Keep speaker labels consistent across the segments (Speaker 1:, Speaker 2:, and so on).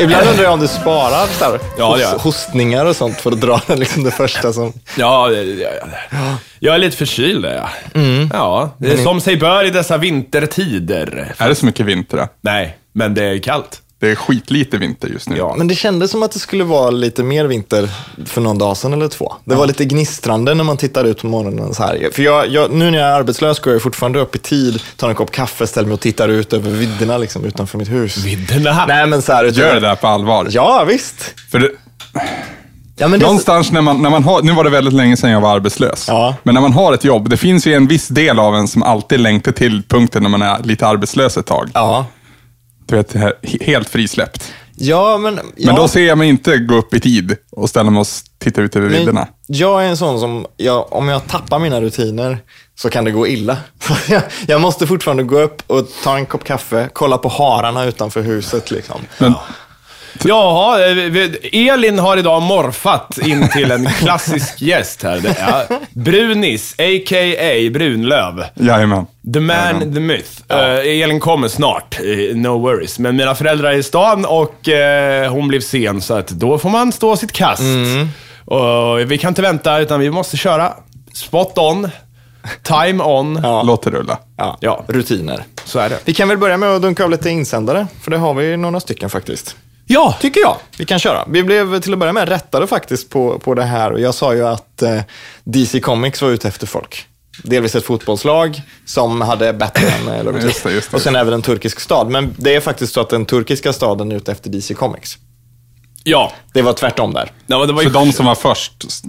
Speaker 1: Ibland undrar jag om du sparar så här,
Speaker 2: Ja, det gör jag.
Speaker 1: hos- hostningar och sånt för att dra den, liksom, det första som...
Speaker 2: Ja, det- det- ja, ja. jag är lite förkyld. är jag. Ja, det är som sig bör i dessa vintertider.
Speaker 3: Är det så mycket vinter? då?
Speaker 2: Nej, men det är kallt.
Speaker 3: Det är skitlite vinter just nu.
Speaker 2: Ja.
Speaker 1: Men det kändes som att det skulle vara lite mer vinter för någon dag sedan eller två. Det var lite gnistrande när man tittar ut på morgonen. Så här. För jag, jag, nu när jag är arbetslös går jag fortfarande upp i tid, tar en kopp kaffe, ställer mig och tittar ut över vidderna liksom, utanför mitt hus.
Speaker 2: Vidderna.
Speaker 1: Nej, men så här,
Speaker 3: Gör det där på allvar.
Speaker 1: Ja, visst.
Speaker 3: För det,
Speaker 1: Ja, men det,
Speaker 3: någonstans när man, när man har, nu var det väldigt länge sedan jag var arbetslös,
Speaker 1: Ja.
Speaker 3: men när man har ett jobb, det finns ju en viss del av en som alltid längtar till punkten när man är lite arbetslös ett tag.
Speaker 1: ja.
Speaker 3: Du vet, det här, he- helt frisläppt.
Speaker 1: ja, men... Ja.
Speaker 3: Men då ser jag mig inte gå upp i tid och ställa mig och s- titta ut över vidderna.
Speaker 1: jag är en sån som, jag, om jag tappar mina rutiner så kan det gå illa. Så jag, jag måste fortfarande gå upp och ta en kopp kaffe, kolla på hararna utanför huset. Liksom.
Speaker 3: Men,
Speaker 2: Jaha, eh, vi- Elin har idag morfat in till en klassisk gäst här. Det är Brunis, a.k.a. Brunlöv.
Speaker 3: jajamän.
Speaker 2: The man, the myth. Eh, Elin kommer snart, eh, no worries. Men mina föräldrar är i stan och eh, hon blev sen, så att då får man stå sitt kast. Och vi kan inte vänta, utan vi måste köra spot on, time on.
Speaker 1: Ja.
Speaker 3: Låt det rulla.
Speaker 1: Ja,
Speaker 2: Ja.
Speaker 1: Rutiner.
Speaker 2: Så är det.
Speaker 1: Vi kan väl börja med att dunka av lite insändare, för det har vi några stycken faktiskt.
Speaker 2: Ja!
Speaker 1: Tycker jag. Vi kan köra. Vi blev till att börja med rättade faktiskt på, på det här och jag sa ju att eh, DC Comics var ute efter folk. Delvis ett fotbollslag som hade Batman eh, logotyp.
Speaker 3: Just det, just det.
Speaker 1: Och sen även en turkisk stad. Men det är faktiskt så att den turkiska staden är ute efter DC Comics.
Speaker 2: Ja.
Speaker 1: Det var tvärtom där.
Speaker 2: Nej, men det var
Speaker 3: Så
Speaker 2: ju...
Speaker 3: de som var först, s-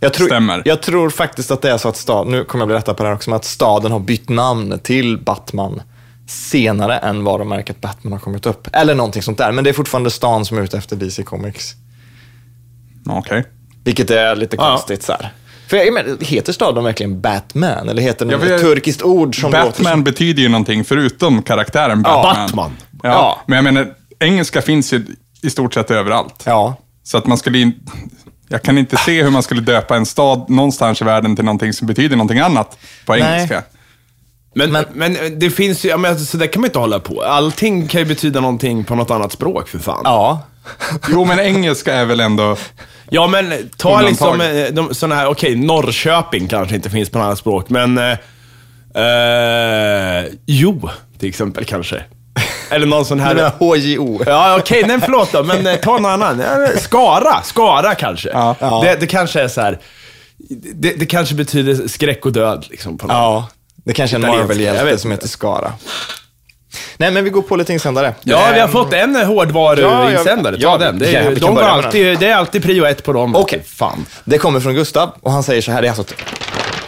Speaker 1: Jag tror,
Speaker 3: Stämmer.
Speaker 1: Jag tror faktiskt att det är så att staden, nu kommer jag bli rättad på det här också, men att staden har bytt namn till Batman senare än varumärket Batman har kommit upp. Eller någonting sånt där. Men det är fortfarande stan som är ute efter DC Comics.
Speaker 3: okej.
Speaker 1: Vilket är lite
Speaker 2: Ja.
Speaker 1: konstigt så här. För jag menar, heter staden verkligen Batman? Eller heter den
Speaker 3: Ja, för jag-
Speaker 1: ett turkiskt ord som låter
Speaker 3: Batman
Speaker 1: som...
Speaker 3: betyder ju någonting förutom karaktären
Speaker 2: Ja.
Speaker 3: Batman.
Speaker 2: Batman.
Speaker 3: Ja,
Speaker 1: Ja.
Speaker 3: Men jag menar, engelska finns ju i stort sett överallt.
Speaker 1: Ja.
Speaker 3: Så att man skulle in... Jag kan inte se hur man skulle döpa en stad någonstans i världen till någonting som betyder någonting annat på
Speaker 1: Nej.
Speaker 3: engelska.
Speaker 2: Men, men,
Speaker 1: Men-
Speaker 2: det finns ju, ja, men alltså, så där kan man inte hålla på. Allting kan ju betyda någonting på något annat språk för fan. Ja,
Speaker 1: Ja.
Speaker 3: Jo, men engelska är väl ändå...
Speaker 2: men ta
Speaker 3: Undantag.
Speaker 2: liksom eh, de, sådana här, okej, Norrköping kanske inte finns på något annat språk, men... Eh, eh, jo, till exempel kanske. Eller någon sån
Speaker 1: Du
Speaker 2: här...
Speaker 1: menar HJO?
Speaker 2: Ja, okej, nej förlåt då, men eh, ta någon annan. Eh, Skara, Skara kanske.
Speaker 3: Ja.
Speaker 1: Ja.
Speaker 2: Det, det kanske är så här. Det, det kanske betyder skräck och död liksom. På något.
Speaker 1: Ja. Det kanske är en
Speaker 2: Italienska, jag
Speaker 1: Marvel-hjälte
Speaker 2: vet
Speaker 1: som heter Skara. Nej, men vi går på lite insändare.
Speaker 2: Ja, vi har
Speaker 1: Ehm,
Speaker 2: fått en eh, hårdvaruinsändare.
Speaker 1: Ja,
Speaker 2: Ta
Speaker 1: ja,
Speaker 2: den. Det är,
Speaker 1: ja,
Speaker 2: ju-
Speaker 1: vi
Speaker 2: de
Speaker 1: kan
Speaker 2: går
Speaker 1: börja med
Speaker 2: alltid, det är alltid prio ett på dem.
Speaker 1: Okej.
Speaker 2: Fan.
Speaker 1: Det kommer från Gustav och han säger så här, det är alltså ett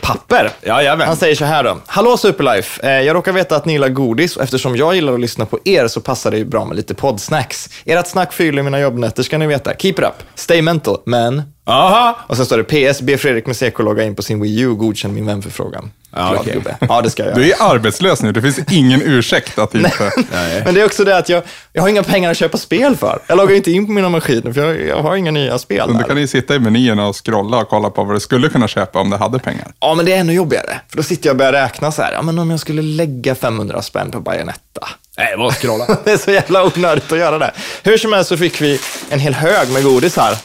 Speaker 1: papper.
Speaker 2: Jajamän.
Speaker 1: Han säger så här då. Hallå Superlife! Eh, Jag råkar veta att ni gillar godis och eftersom jag gillar att lyssna på er så passar det ju bra med lite poddsnacks. Ert snack fyller mina jobbnätter ska ni veta. Keep it up! Stay mental, men...
Speaker 2: Aha.
Speaker 1: Och sen står det PS, be Fredrik med CK logga in på sin Wii U och godkänn min vänförfrågan.
Speaker 2: Ja,
Speaker 1: Glad
Speaker 2: okej.
Speaker 1: gubbe. ja, det ska jag göra.
Speaker 3: Du är arbetslös nu, det finns ingen ursäkt att inte...
Speaker 1: Men det är också det att jag, jag har inga pengar att köpa spel för. Jag loggar ju inte in på mina maskiner för jag, jag har inga nya spel
Speaker 3: Men
Speaker 1: där.
Speaker 3: du kan ju sitta i menyerna och scrolla och kolla på vad du skulle kunna köpa om du hade pengar.
Speaker 1: Ja, men det är ännu jobbigare. För då sitter jag och börjar räkna så här. Ja, men om jag skulle lägga 500 spänn på Bayonetta.
Speaker 2: Nej, vad scrolla.
Speaker 1: det är så jävla onödigt att göra det. Hur som helst så fick vi en hel hög med godis här.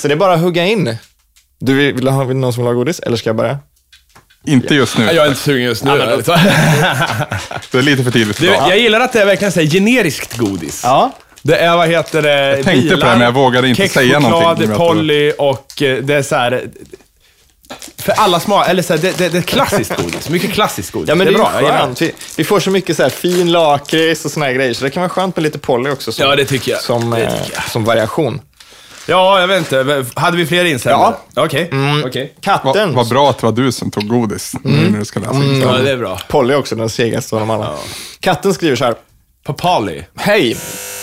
Speaker 1: Så det är bara att hugga in. Du, vill, vill du ha vill någon som vill ha godis? Eller ska jag börja?
Speaker 3: Inte just nu.
Speaker 2: Jag är inte sugen just nu. alltså.
Speaker 3: Det är lite för tidigt
Speaker 2: Du,
Speaker 3: idag.
Speaker 2: jag gillar att det är verkligen så här generiskt godis.
Speaker 1: Ja.
Speaker 2: Det är, vad heter det,
Speaker 3: Jag tänkte på det, men jag vågade inte
Speaker 2: kex,
Speaker 3: säga någonting,
Speaker 2: choklad,
Speaker 3: men jag tror-
Speaker 2: Polly och eh, det är så här... För alla smak, eller så här, det, det, det är klassiskt godis. Mycket klassiskt godis.
Speaker 1: Ja, men det är,
Speaker 2: bra. jag
Speaker 1: ju
Speaker 2: gillar det.
Speaker 1: skönt. Vi, vi får så mycket så här fin lakrits och såna här grejer. Så det kan vara skönt med lite Polly också. Som,
Speaker 2: Ja, det tycker jag.
Speaker 1: Som,
Speaker 2: Det
Speaker 1: eh,
Speaker 2: tycker jag.
Speaker 1: som variation.
Speaker 2: Ja, jag vet inte. Hade vi fler insändare? Ja. Okej.
Speaker 1: Mm.
Speaker 2: Okej.
Speaker 3: Vad
Speaker 1: Katten.
Speaker 3: vad bra att det var du som tog godis nu när du ska läsa mm.
Speaker 2: Ja, det är bra.
Speaker 1: Polly också, den segaste av dem alla. Katten skriver så här.
Speaker 2: Papali.
Speaker 1: Hej! Mm.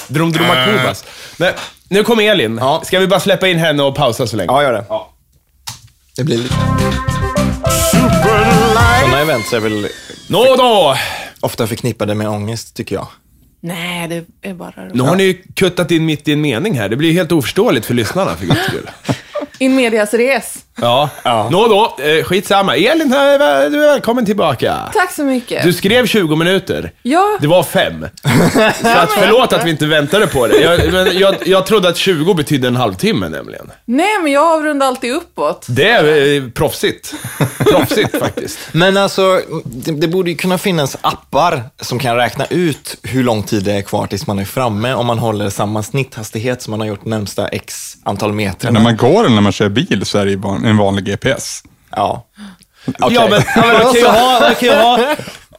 Speaker 2: Drumdrumakubas. Nej, nu kommer Elin.
Speaker 1: Ja.
Speaker 2: Ska vi bara släppa in henne och pausa så länge?
Speaker 1: Ja, gör det.
Speaker 2: Ja.
Speaker 1: Det blir lite... Sådana events är väl
Speaker 2: Nå då!
Speaker 1: ofta förknippade med ångest, tycker jag.
Speaker 4: Nej, det är bara roligt.
Speaker 2: Nu har ni ju kuttat in mitt i en mening här. Det blir ju helt oförståeligt för lyssnarna för guds skull.
Speaker 4: In medias res.
Speaker 2: Ja.
Speaker 1: Ja.
Speaker 2: Nå då, eh, skitsamma. Elin, här är väl- du är välkommen tillbaka.
Speaker 4: Tack så mycket.
Speaker 2: Du skrev 20 minuter.
Speaker 4: Ja.
Speaker 2: Det var fem. Så att, förlåt att vi inte väntade på det. Jag, men jag, jag trodde att 20 betydde en halvtimme nämligen.
Speaker 4: Nej, men jag avrundar alltid uppåt.
Speaker 2: Det är eh, proffsigt. Proffsigt faktiskt.
Speaker 1: Men alltså, det, det borde ju kunna finnas appar som kan räkna ut hur lång tid det är kvar tills man är framme om man håller samma snitthastighet som man har gjort närmsta x antal meter.
Speaker 3: När man går eller när man kör bil så är det ju van- en vanlig GPS.
Speaker 1: Ja. Alltså,
Speaker 2: Ja, men, ja, men man kan ju ha, man kan ju ha,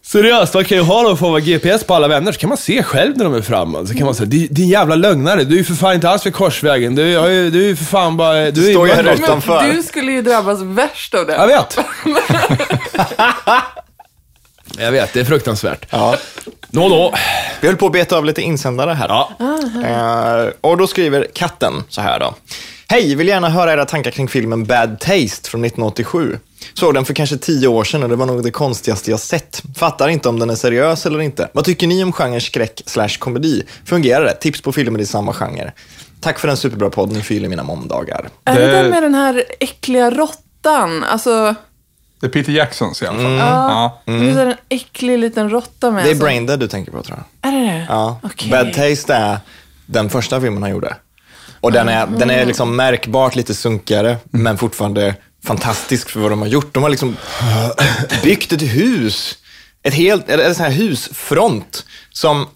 Speaker 2: seriöst, man kan ju ha någon form av GPS på alla vänner, så kan man se själv när de är framme. Så kan man säga, "Din- din jävla lögnare, du är ju för fan inte alls vid korsvägen. Du, har ju- du är ju för fan bara... Du är ju
Speaker 1: står ju
Speaker 2: bara-
Speaker 1: här ute.
Speaker 4: Men
Speaker 1: Utanför.
Speaker 4: du skulle ju drabbas värst av det.
Speaker 2: Jag vet. Jag vet, det är fruktansvärt.
Speaker 1: Ja.
Speaker 2: Nå då.
Speaker 1: Vi höll på att beta av lite insändare här.
Speaker 2: Ja.
Speaker 1: Eh, och då skriver katten så här då. Hej, vill gärna höra era tankar kring filmen Bad Taste från 1987. Såg den för kanske tio år sedan och det var nog det konstigaste jag sett. Fattar inte om den är seriös eller inte. Vad tycker ni om genren skräck slash komedi? Fungerar det? Tips på filmer i samma genre. Tack för en superbra podd, ni fyller mina måndagar.
Speaker 4: Är det
Speaker 3: Det-
Speaker 4: den med den här äckliga råttan? Alltså,
Speaker 3: Det är Peter Jacksons i alla fall. Ja.
Speaker 4: det är en äcklig liten råtta med.
Speaker 1: Mm. Det är
Speaker 4: alltså.
Speaker 1: Braindead du tänker på tror jag.
Speaker 4: Är det det?
Speaker 1: Ja.
Speaker 4: Okej.
Speaker 1: Bad Taste är den första filmen han gjorde. Och den är, den är liksom märkbart lite sunkigare, men fortfarande fantastisk för vad de har gjort. De har liksom byggt ett hus, ett helt, eller en sån här husfront, som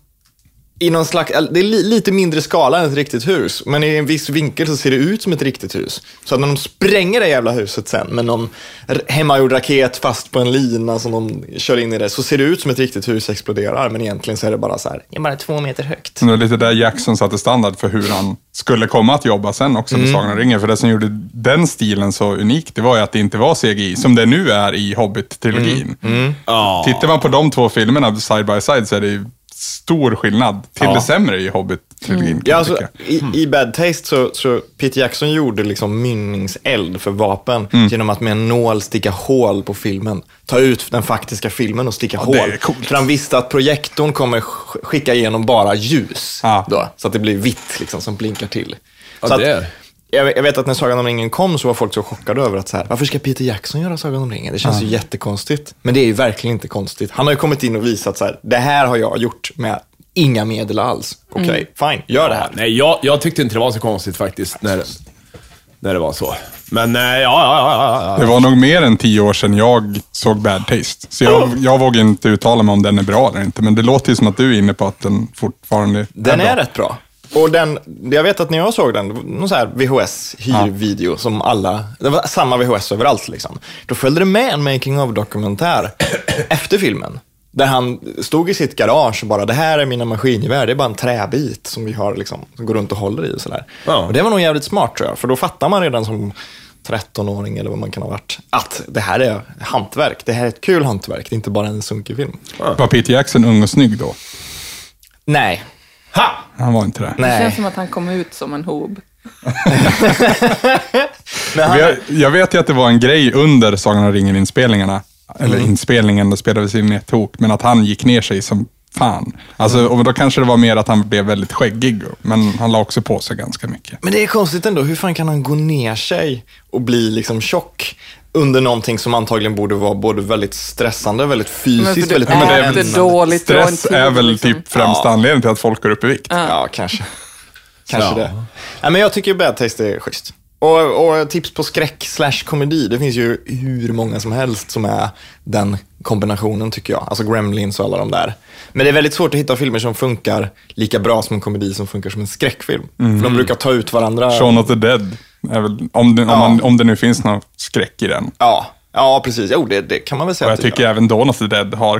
Speaker 1: i någon slags, eller det är li, lite mindre skala än ett riktigt hus, men i en viss vinkel så ser det ut som ett riktigt hus. Så att när de spränger det jävla huset sen med någon r- hemmagjord raket fast på en lina som de kör in i det, så ser det ut som ett riktigt hus exploderar, men egentligen så är det bara så här, det är bara två meter högt.
Speaker 3: Det var lite där Jackson satte standard för hur han skulle komma att jobba sen också med Sagan om ringen. För det som gjorde den stilen så unik, det var ju att det inte var CGI, som det nu är i Hobbit-trilogin.
Speaker 2: Ja.
Speaker 3: Tittar man på de två filmerna side by side så är det ju stor skillnad till det sämre i Hobbit-trilogin. kan
Speaker 1: Ja,
Speaker 3: jag
Speaker 1: alltså,
Speaker 3: tycka. Mm.
Speaker 1: i, I Bad Taste så, så Peter Jackson gjorde liksom mynningseld för vapen
Speaker 3: Mm.
Speaker 1: genom att med en nål sticka hål på filmen. Ta ut den faktiska filmen och sticka hål.
Speaker 3: det är coolt.
Speaker 1: För han visste att projektorn kommer sk- skicka igenom bara ljus.
Speaker 3: Ja.
Speaker 1: Då, så att det blir vitt liksom, som blinkar till.
Speaker 2: Ja,
Speaker 1: så
Speaker 2: det
Speaker 1: att,
Speaker 2: är.
Speaker 1: jag jag vet att när Sagan om ringen kom så var folk så chockade över att så här, varför ska Peter Jackson göra Sagan om ringen? Det känns ju jättekonstigt. Men det är ju verkligen inte konstigt. Han har ju kommit in och visat så här, det här har jag gjort med inga medel alls. Okej, fine, gör det här.
Speaker 2: Nej, jag, jag tyckte inte det var så konstigt faktiskt när, när det var så. Men eh, ja, ja, ja, ja, ja.
Speaker 3: Det var nog mer än tio år sedan jag såg Bad Taste. Så jag, jag vågar inte uttala mig om den är bra eller inte. Men det låter ju som att du är inne på att den fortfarande
Speaker 1: Den
Speaker 3: bra.
Speaker 1: är rätt bra. Och den, jag vet att när jag såg den, det var någon så här VHS-hyrvideo som alla, det var samma VHS överallt liksom. Då följde det med en making of-dokumentär efter filmen. Där han stod i sitt garage och bara, det här är mina maskingevär, det är bara en träbit som vi har liksom, som går runt och håller i och sådär.
Speaker 2: Ja.
Speaker 1: Och det var nog jävligt smart tror jag, för då fattar man redan som 13-åring eller vad man kan ha varit, att det här är hantverk, det här är ett kul hantverk, det är inte bara en sunkig film.
Speaker 3: Var Peter Jackson ung och snygg då?
Speaker 1: Nej.
Speaker 2: Ha!
Speaker 3: Han var inte det.
Speaker 4: Det
Speaker 1: Nej.
Speaker 4: känns som att han kom ut som en hob.
Speaker 1: Men han-
Speaker 3: Men Jag, jag vet ju att det var en grej under Sagan om ringen-inspelningarna, eller
Speaker 1: Mm.
Speaker 3: inspelningen, då spelades in i ett tok, men att han gick ner sig som fan.
Speaker 1: Mm.
Speaker 3: Alltså, och då kanske det var mer att han blev väldigt skäggig, men han la också på sig ganska mycket.
Speaker 1: Men det är konstigt ändå, hur fan kan han gå ner sig och bli liksom tjock under någonting som antagligen borde vara både väldigt stressande, väldigt
Speaker 4: Men för
Speaker 1: fysiskt,
Speaker 4: du
Speaker 1: väldigt
Speaker 4: äter
Speaker 1: brännande.
Speaker 4: dåligt. det var en
Speaker 3: Stress
Speaker 4: tid,
Speaker 3: är väl
Speaker 4: liksom.
Speaker 3: typ främsta
Speaker 1: Ja.
Speaker 3: anledningen till att folk går upp i vikt.
Speaker 1: Ja, kanske. Kanske
Speaker 2: Ja.
Speaker 1: det. Nej, men jag tycker Bad Taste är schysst. Och, och tips på skräck slash komedi, det finns ju hur många som helst som är den kombinationen tycker jag. Alltså Gremlins och alla de där. Men det är väldigt svårt att hitta filmer som funkar lika bra som en komedi som funkar som en skräckfilm. För de brukar ta ut varandra.
Speaker 3: Shaun of the Dead, är väl, om, det, om, man, om det nu finns någon skräck i den.
Speaker 1: Ja, ja precis. Jo, det, det kan man väl säga
Speaker 3: Och
Speaker 1: att
Speaker 3: jag
Speaker 1: det
Speaker 3: tycker
Speaker 1: gör.
Speaker 3: även Dawn of the Dead har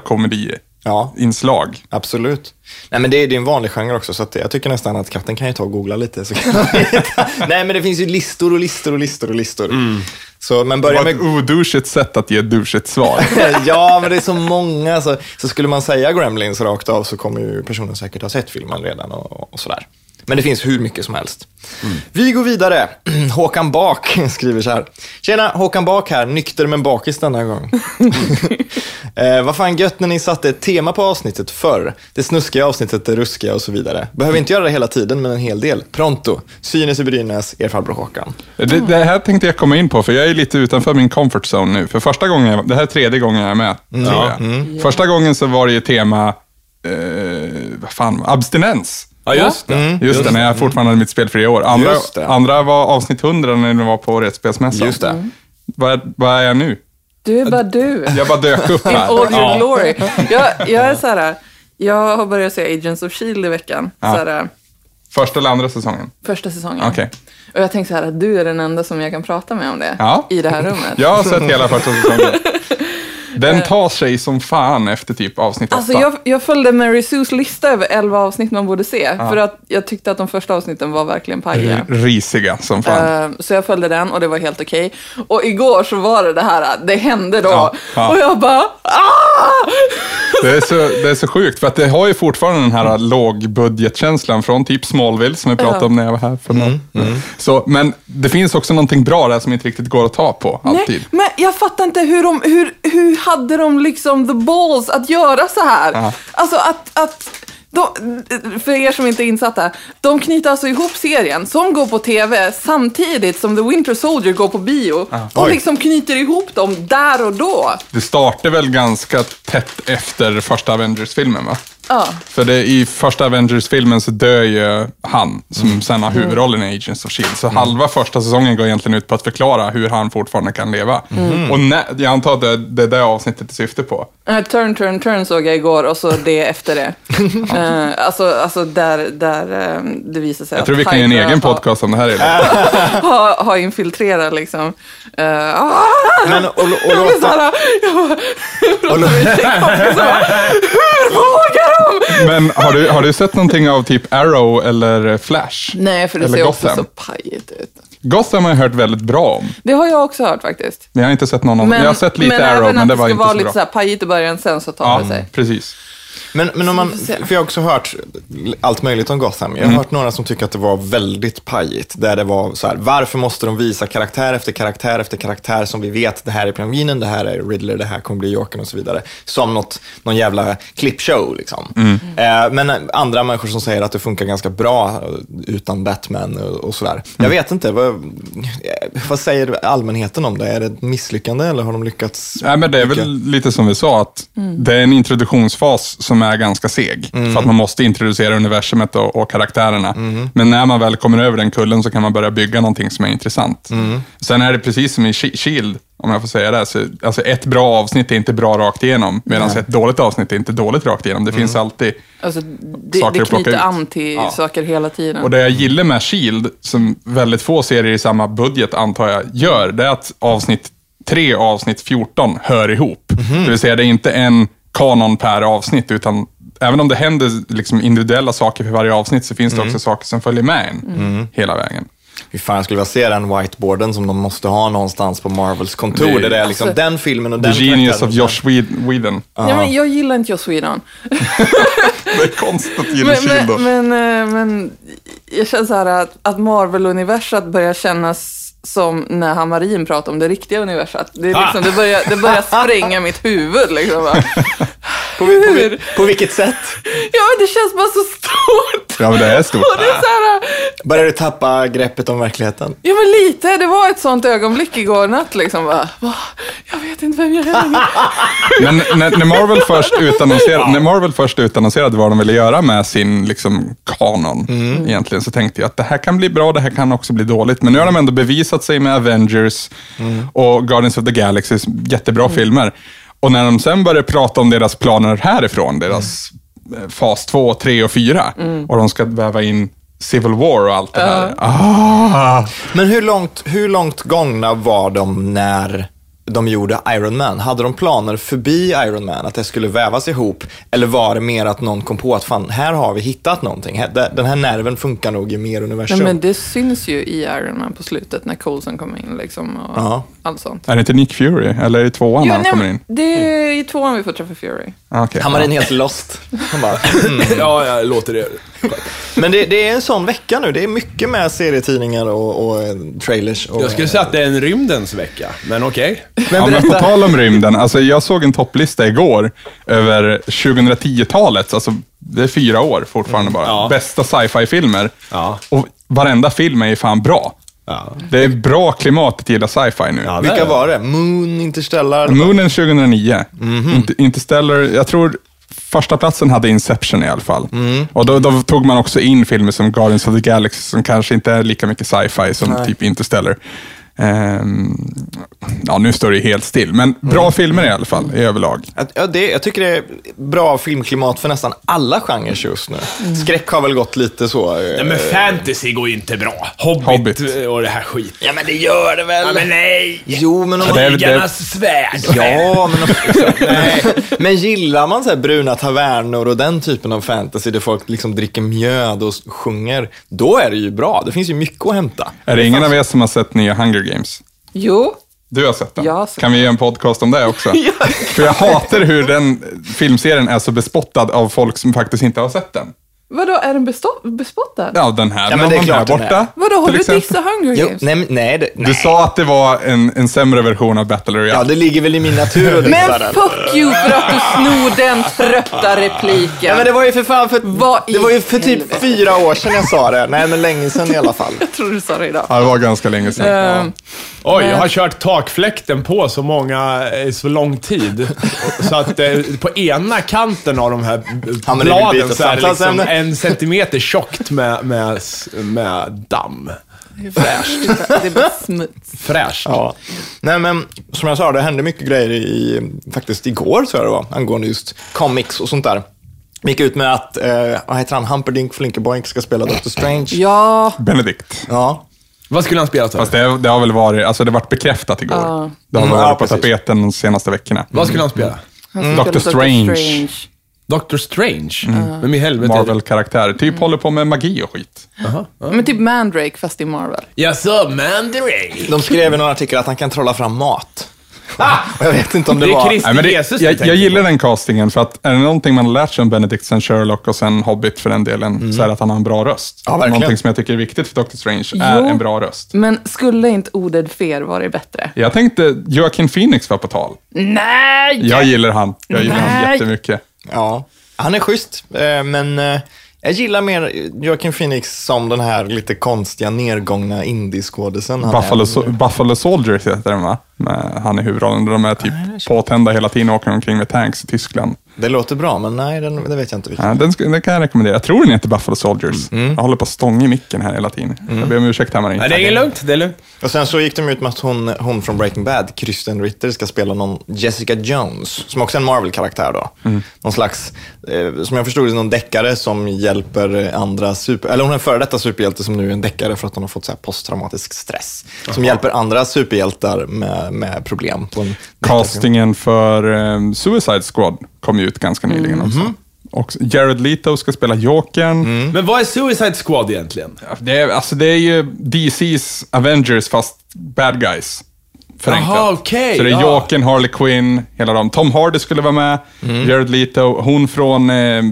Speaker 1: Ja.
Speaker 3: komediinslag.
Speaker 1: Absolut. Nej, men det, är- det är en vanlig genre också, så att jag tycker nästan att katten kan ju ta och googla lite. Så kan man hitta. Nej, men det finns ju listor och listor och listor och listor. Så, men
Speaker 3: Det
Speaker 1: börja
Speaker 3: var ett
Speaker 1: med...
Speaker 3: oduschigt sätt att ge ett duschigt svar.
Speaker 1: ja, men det är så många. alltså. Så, så skulle man säga Gremlins rakt av så kommer ju personen säkert ha sett filmen redan och, och sådär. Men det finns hur mycket som helst. Vi går vidare. Håkan Bak skriver så här. Tjena, Håkan Bak här. Nykter men bakis denna gång. eh, vad fan gött när ni satte ett tema på avsnittet förr. Det snuskiga avsnittet, det ruskiga och så vidare. Behöver inte göra det hela tiden, men en hel del. Pronto. Synes i Brynäs, er farbror Håkan.
Speaker 3: Det, det här tänkte jag komma in på, för jag är lite utanför min comfort zone nu. För första gången, jag, det här är tredje gången jag är med,
Speaker 1: Mm.
Speaker 3: tror jag. Första gången så var det ju tema, eh, vad fan, abstinens.
Speaker 2: Ja, just det.
Speaker 3: Just det, när jag fortfarande hade mitt spelfria år. Andra,
Speaker 1: Mm. Just det.
Speaker 3: andra var avsnitt 100 när det var på årets spelsmässa.
Speaker 1: Just det.
Speaker 3: Vad, är- vad är jag nu?
Speaker 4: Du är bara du.
Speaker 3: Jag bara dök upp
Speaker 4: In
Speaker 3: här.
Speaker 4: all your
Speaker 3: Ja.
Speaker 4: glory. Jag, jag är så här, jag har börjat se Agents of Shield i veckan. Så här,
Speaker 3: Första eller andra säsongen?
Speaker 4: första säsongen.
Speaker 3: Okej.
Speaker 4: Och jag tänkte så här att du är den enda som jag kan prata med om det
Speaker 3: Ja.
Speaker 4: i det här rummet.
Speaker 3: Jag har sett hela första säsongen. Den tar sig som fan efter typ avsnitt 8.
Speaker 4: Eh. Alltså jag, jag följde Mary Sues lista över 11 avsnitt man borde se. För att jag tyckte att de första avsnitten var verkligen pajiga.
Speaker 3: Risiga som fan.
Speaker 4: Eh, Så jag följde den och det var helt okej. Och igår så var det det här, det hände då.
Speaker 3: Ja, ja.
Speaker 4: Och jag bara, ah!
Speaker 3: Det är, så, det är så sjukt, för att det har ju fortfarande den här lågbudgetkänslan från typ Smallville, som vi pratade om när jag var här för någon. Så, men det finns också någonting bra där som inte riktigt går att ta på alltid.
Speaker 4: Nej, men jag fattar inte hur de, hur, hur hade de liksom the balls att göra så här?
Speaker 3: Ja.
Speaker 4: Alltså att, att de, för er som inte är insatta, de knyter alltså ihop serien som går på tv samtidigt som The Winter Soldier går på bio och
Speaker 1: Oj.
Speaker 4: liksom knyter ihop dem där och då.
Speaker 3: Det startar väl ganska tätt efter första Avengers-filmen, va?
Speaker 4: Ja.
Speaker 3: För det, i första Avengers-filmen så dör ju han, som sen
Speaker 4: Mm.
Speaker 3: har huvudrollen i Agents of Shield. Så halva första säsongen går egentligen ut på att förklara hur han fortfarande kan leva. Och när, jag antar att det, det är det avsnittet det syftar på.
Speaker 4: Eh, Turn, turn, turn såg jag igår och så det efter det. Eh, alltså, alltså där, där eh, det visar sig
Speaker 3: Jag tror vi kan göra en egen podcast om det här. Eller?
Speaker 4: har, har infiltrerat liksom. Eh, ah!
Speaker 1: Men, och, och,
Speaker 4: Jag blir
Speaker 1: låta,
Speaker 4: såhär, jag bara, jag låter min tjejkompis och bara, hur vågar de?
Speaker 3: Men har du, har du sett någonting av typ Arrow eller Flash?
Speaker 4: Nej, för det
Speaker 3: eller
Speaker 4: ser
Speaker 3: Gotham?
Speaker 4: också så pajigt ut.
Speaker 3: Gotham har jag hört väldigt bra om.
Speaker 4: Det har jag också hört faktiskt.
Speaker 3: Men jag har inte sett någon av dem. Jag har sett lite
Speaker 4: men
Speaker 3: Arrow,
Speaker 4: även
Speaker 3: men
Speaker 4: att
Speaker 3: det var
Speaker 4: ska
Speaker 3: inte
Speaker 4: vara
Speaker 3: så
Speaker 4: lite
Speaker 3: bra.
Speaker 4: så här pajigt i början, sen så tar det
Speaker 3: ja,
Speaker 4: sig.
Speaker 3: precis.
Speaker 1: men, men om man,
Speaker 4: Vi får se.
Speaker 1: för jag har också hört allt möjligt om Gotham. Jag har
Speaker 3: Mm.
Speaker 1: hört några som tycker att det var väldigt pajigt. Där det var så här, varför måste de visa karaktär efter karaktär efter karaktär som vi vet, det här är pingvinen, det här är Riddler, det här kommer bli Jokern och så vidare. Som något, någon jävla klippshow liksom.
Speaker 3: Mm.
Speaker 1: Eh, men andra människor som säger att det funkar ganska bra eh, utan Batman och, och sådär. Jag
Speaker 3: Mm.
Speaker 1: vet inte, vad, eh, vad säger allmänheten om det? Är det ett misslyckande eller har de lyckats?
Speaker 3: Nej, men det är väl lite som vi sa, att det är en introduktionsfas som är ganska seg. För att man måste introducera universumet och, och karaktärerna. Men när man väl kommer över den kullen så kan man börja bygga någonting som är intressant. Sen är det precis som i Shi- Shield, om jag får säga det. Så, alltså ett bra avsnitt är inte bra rakt igenom, medan ett dåligt avsnitt är inte dåligt rakt igenom. Det finns alltid
Speaker 4: Alltså, det,
Speaker 3: Saker
Speaker 4: det
Speaker 3: att plocka
Speaker 4: knyter
Speaker 3: ut.
Speaker 4: an till
Speaker 3: Ja.
Speaker 4: saker hela tiden.
Speaker 3: Och det jag gillar med Shield, som väldigt få serier i samma budget antar jag gör, det är att avsnitt 3 och avsnitt 14 hör ihop. Det vill säga, det är inte en kanon per avsnitt, utan även om det händer liksom individuella saker för varje avsnitt så finns det också saker som följer med en hela vägen.
Speaker 1: Hur fan jag skulle vilja se den whiteboarden som de måste ha någonstans på Marvels kontor.
Speaker 3: Det-
Speaker 1: Det, där är liksom
Speaker 4: Alltså-
Speaker 1: den filmen och
Speaker 3: The
Speaker 1: den
Speaker 3: Genius
Speaker 1: karaktären
Speaker 3: of
Speaker 1: och
Speaker 3: Josh Whedon- Whedon.
Speaker 4: Nej, men jag gillar inte Joss Whedon.
Speaker 3: Det är konstigt att gilla
Speaker 4: Men,
Speaker 3: Shield. då.
Speaker 4: men, men, eh, men jag känner så här att, att Marvel-universat börjar kännas som när Hamarin pratar om det riktiga universat. Det, är liksom, det, börjar, det börjar spränga mitt huvud. Liksom. bara.
Speaker 1: På, vi- på, vi-
Speaker 4: Hur?
Speaker 1: på vilket sätt?
Speaker 4: Ja, men det känns bara så stort.
Speaker 3: Ja, men det är stort.
Speaker 4: Och det är så här,
Speaker 1: Börjar du tappa greppet om verkligheten?
Speaker 4: ja, men lite. Det var ett sånt ögonblick igår natt. Liksom, bara, va? Jag vet inte vem jag är längre.
Speaker 3: Men när, när, Marvel först utannonserade, när Marvel först utannonserade vad de ville göra med sin liksom, kanon, egentligen, så tänkte jag att det här kan bli bra, det här kan också bli dåligt. Men nu har de ändå bevisat sig med Avengers och Guardians of the Galaxy, jättebra filmer. Och när de sen börjar prata om deras planer härifrån, deras eh, fas 2, 3 och 4, och de ska väva in Civil War och allt det här. Ah.
Speaker 1: Men hur långt, hur långt gångna var de när de gjorde Iron Man? Hade de planer förbi Iron Man, att det skulle vävas ihop? Eller var det mer att någon kom på att fan, här har vi hittat någonting. Här- det- Den här nerven funkar nog i mer universum.
Speaker 4: Nej, men det syns ju i Iron Man på slutet när Coulson kommer in liksom, och
Speaker 1: Ja.
Speaker 4: allt sånt.
Speaker 3: Är det inte Nick Fury, eller är det tvåan
Speaker 4: Jo,
Speaker 3: när han
Speaker 4: nej,
Speaker 3: kommer
Speaker 4: men
Speaker 3: in? Ah,
Speaker 4: Det är i tvåan vi får träffa Fury.
Speaker 3: Okej.
Speaker 1: Han var en helt lost. Han bara, mm.
Speaker 2: Ja, jag låter det.
Speaker 1: Men det, det är en sån vecka nu. Det är mycket med serietidningar och, och eh, trailers. Och,
Speaker 2: Jag skulle säga att det är en rymdens vecka, men okej.
Speaker 3: Ja, men på tal om rymden, alltså jag såg en topplista igår över 2010-talet, alltså det är fyra år fortfarande bara,
Speaker 2: Mm. Ja.
Speaker 3: bästa sci-fi-filmer.
Speaker 2: Ja.
Speaker 3: Och varenda film är ju fan bra. Det är bra klimat att gilla sci-fi nu.
Speaker 2: Ja,
Speaker 1: Vilka var det? Moon, Interstellar?
Speaker 3: Moonen 2009,
Speaker 1: Mhm.
Speaker 3: Int- Interstellar, jag tror första platsen hade Inception i alla fall.
Speaker 1: Mm.
Speaker 3: Och då, då tog man också in filmer som Guardians of the Galaxy, som kanske inte är lika mycket sci-fi som typ Interstellar. Ehm, ja, nu står det ju helt still, men bra
Speaker 1: Mm.
Speaker 3: filmer i alla fall, i överlag.
Speaker 1: Att- Ja, det, jag tycker det är bra filmklimat för nästan alla genrer just nu. Skräck har väl gått lite så. eh,
Speaker 2: Mm. Nej, men fantasy går ju inte bra. Hobbit,
Speaker 3: Hobbit.
Speaker 2: och det här skit.
Speaker 1: Ja, men det gör det väl?
Speaker 2: Ja, men nej!
Speaker 1: Jo, men om
Speaker 3: Ja, det är-
Speaker 1: man...
Speaker 2: Krigarnas svärd.
Speaker 1: Ja, men, om, nej. men gillar man så här bruna tavernor och den typen av fantasy där folk liksom dricker mjöd och s- sjunger, då är det ju bra. Det finns ju mycket att hämta.
Speaker 3: Är det ingen av er som har sett nya Hunger Games?
Speaker 4: Jo,
Speaker 3: Du har sett den?
Speaker 4: Jag har sett
Speaker 3: kan vi göra en podcast om det också? För jag hatar hur den filmserien är så bespottad av folk som faktiskt inte har sett den.
Speaker 4: vadå, är den bestå- bespottad?
Speaker 3: Ja, den här
Speaker 1: Ja, men
Speaker 3: någon
Speaker 1: det är klart
Speaker 3: här
Speaker 1: den är.
Speaker 3: borta.
Speaker 4: Vadå, har
Speaker 3: till
Speaker 4: du
Speaker 3: exempel.
Speaker 4: dissat Hunger
Speaker 1: Jo,
Speaker 4: Games?
Speaker 1: nej, men- nej, det,
Speaker 3: Du
Speaker 1: nej.
Speaker 3: sa att det var en, en sämre version av Battle Royale.
Speaker 1: Ja, det ligger väl i min natur att dissa
Speaker 4: Men
Speaker 1: den.
Speaker 4: fuck you för att du snor den trötta repliken.
Speaker 1: Ja, men det var ju för fan för,
Speaker 4: Vad i
Speaker 1: det var ju för typ
Speaker 4: helvete?
Speaker 1: fyra år sedan jag sa det. Nej, men länge sedan i alla fall.
Speaker 4: Jag tror du sa det idag.
Speaker 3: Ja, det var ganska länge sedan.
Speaker 4: Ehm,
Speaker 2: Oj, jag har kört takfläkten på så många, eh, så lång tid. Så att eh, på ena kanten av de här
Speaker 1: Ja, men det är
Speaker 2: bladen
Speaker 1: byta
Speaker 2: så är det liksom
Speaker 1: samtalsämne.
Speaker 2: en centimeter tjockt med, med, s- med damm.
Speaker 4: Fräscht. Det är bara smuts.
Speaker 2: Fräscht.
Speaker 1: Ja. Nej, men som jag sa, det hände mycket grejer i, faktiskt igår, tror jag det var, angående just comics och sånt där. Vi gick ut med att, eh, vad heter han, Humperdinck Flinkerboink ska spela Doctor Strange.
Speaker 4: Ja,
Speaker 3: Benedict.
Speaker 1: Ja.
Speaker 2: Vad skulle han spela för?
Speaker 3: Fast det, det har väl varit, alltså det varit bekräftat igår.
Speaker 4: Ja.
Speaker 3: Det har
Speaker 1: Mm,
Speaker 3: varit
Speaker 1: ja,
Speaker 3: på
Speaker 1: precis.
Speaker 3: tapeten de senaste veckorna.
Speaker 2: Vad skulle han spela?
Speaker 4: han spelar
Speaker 3: Dr. Strange.
Speaker 2: Doctor Strange? Mm. Men i helvete.
Speaker 3: Marvel-karaktär. Typ håller på med magi och skit.
Speaker 4: Men typ Mandrake fast i Marvel.
Speaker 2: Jaså, Mandarin?
Speaker 1: De skrev i någon artikel att han kan trolla fram mat. Och jag vet inte om det,
Speaker 2: Det är
Speaker 1: var...
Speaker 2: Kristi
Speaker 3: Nej, men det,
Speaker 2: Jesus
Speaker 3: jag,
Speaker 2: du tänker
Speaker 3: jag gillar
Speaker 2: på.
Speaker 3: den castingen, för att är det någonting man har lärt sig om Benedict sen Sherlock och sen Hobbit för den delen, så är det att han har en bra röst.
Speaker 1: Ja, verkligen.
Speaker 3: någonting som jag tycker är viktigt för Doctor Strange är
Speaker 4: Jo.
Speaker 3: en bra röst.
Speaker 4: Men skulle inte ordet fer varit bättre?
Speaker 3: Jag tänkte, Joaquin Phoenix var på tal.
Speaker 4: Nej!
Speaker 3: Jag gillar han. Jag gillar han
Speaker 4: Nej.
Speaker 3: jättemycket.
Speaker 1: Ja, han är schysst, eh, men eh, jag gillar mer Joaquin Phoenix som den här lite konstiga, nedgångna indieskådisen. han är.
Speaker 3: Buffalo, So- Buffalo Soldiers heter den va? Med han i huvudrollen. Där De är typ påtända hela tiden och åker omkring med tanks i Tyskland.
Speaker 1: Det låter bra, men nej, den, det vet jag inte vilken.
Speaker 3: Ja, den, sk- den kan jag rekommendera. Jag tror den heter Buffalo Soldiers.
Speaker 2: Mm.
Speaker 3: Jag håller på att stånga i micken här hela tiden. Jag ber om ursäkt Hammarin.
Speaker 2: Nej, Mm. det är lugnt. Det är lugnt.
Speaker 1: Och sen så gick de ut med att hon, hon från Breaking Bad, Kristen Ritter, ska spela någon Jessica Jones, som också är en Marvel-karaktär då.
Speaker 3: Mm.
Speaker 1: Någon slags, eh, som jag förstod det, någon deckare som hjälper eh, andra super... Eller hon är en före detta superhjälte som nu är en deckare för att hon har fått så här posttraumatisk stress. Som hjälper andra superhjältar med, med problem. På en
Speaker 3: Castingen för ehm, Suicide Squad kom ju ut ganska nyligen
Speaker 2: Mm.
Speaker 3: också. Och Jared Leto ska spela Jokern.
Speaker 2: Men vad är Suicide Squad egentligen?
Speaker 3: Det, är, alltså, det är ju DC's Avengers fast bad guys. Förenklat.
Speaker 2: Jaha, okej,
Speaker 3: Så det är
Speaker 2: ja.
Speaker 3: Jokern, Harley Quinn, hela dem. Tom Hardy skulle vara med,
Speaker 2: Mm.
Speaker 3: Jared Leto, hon från eh,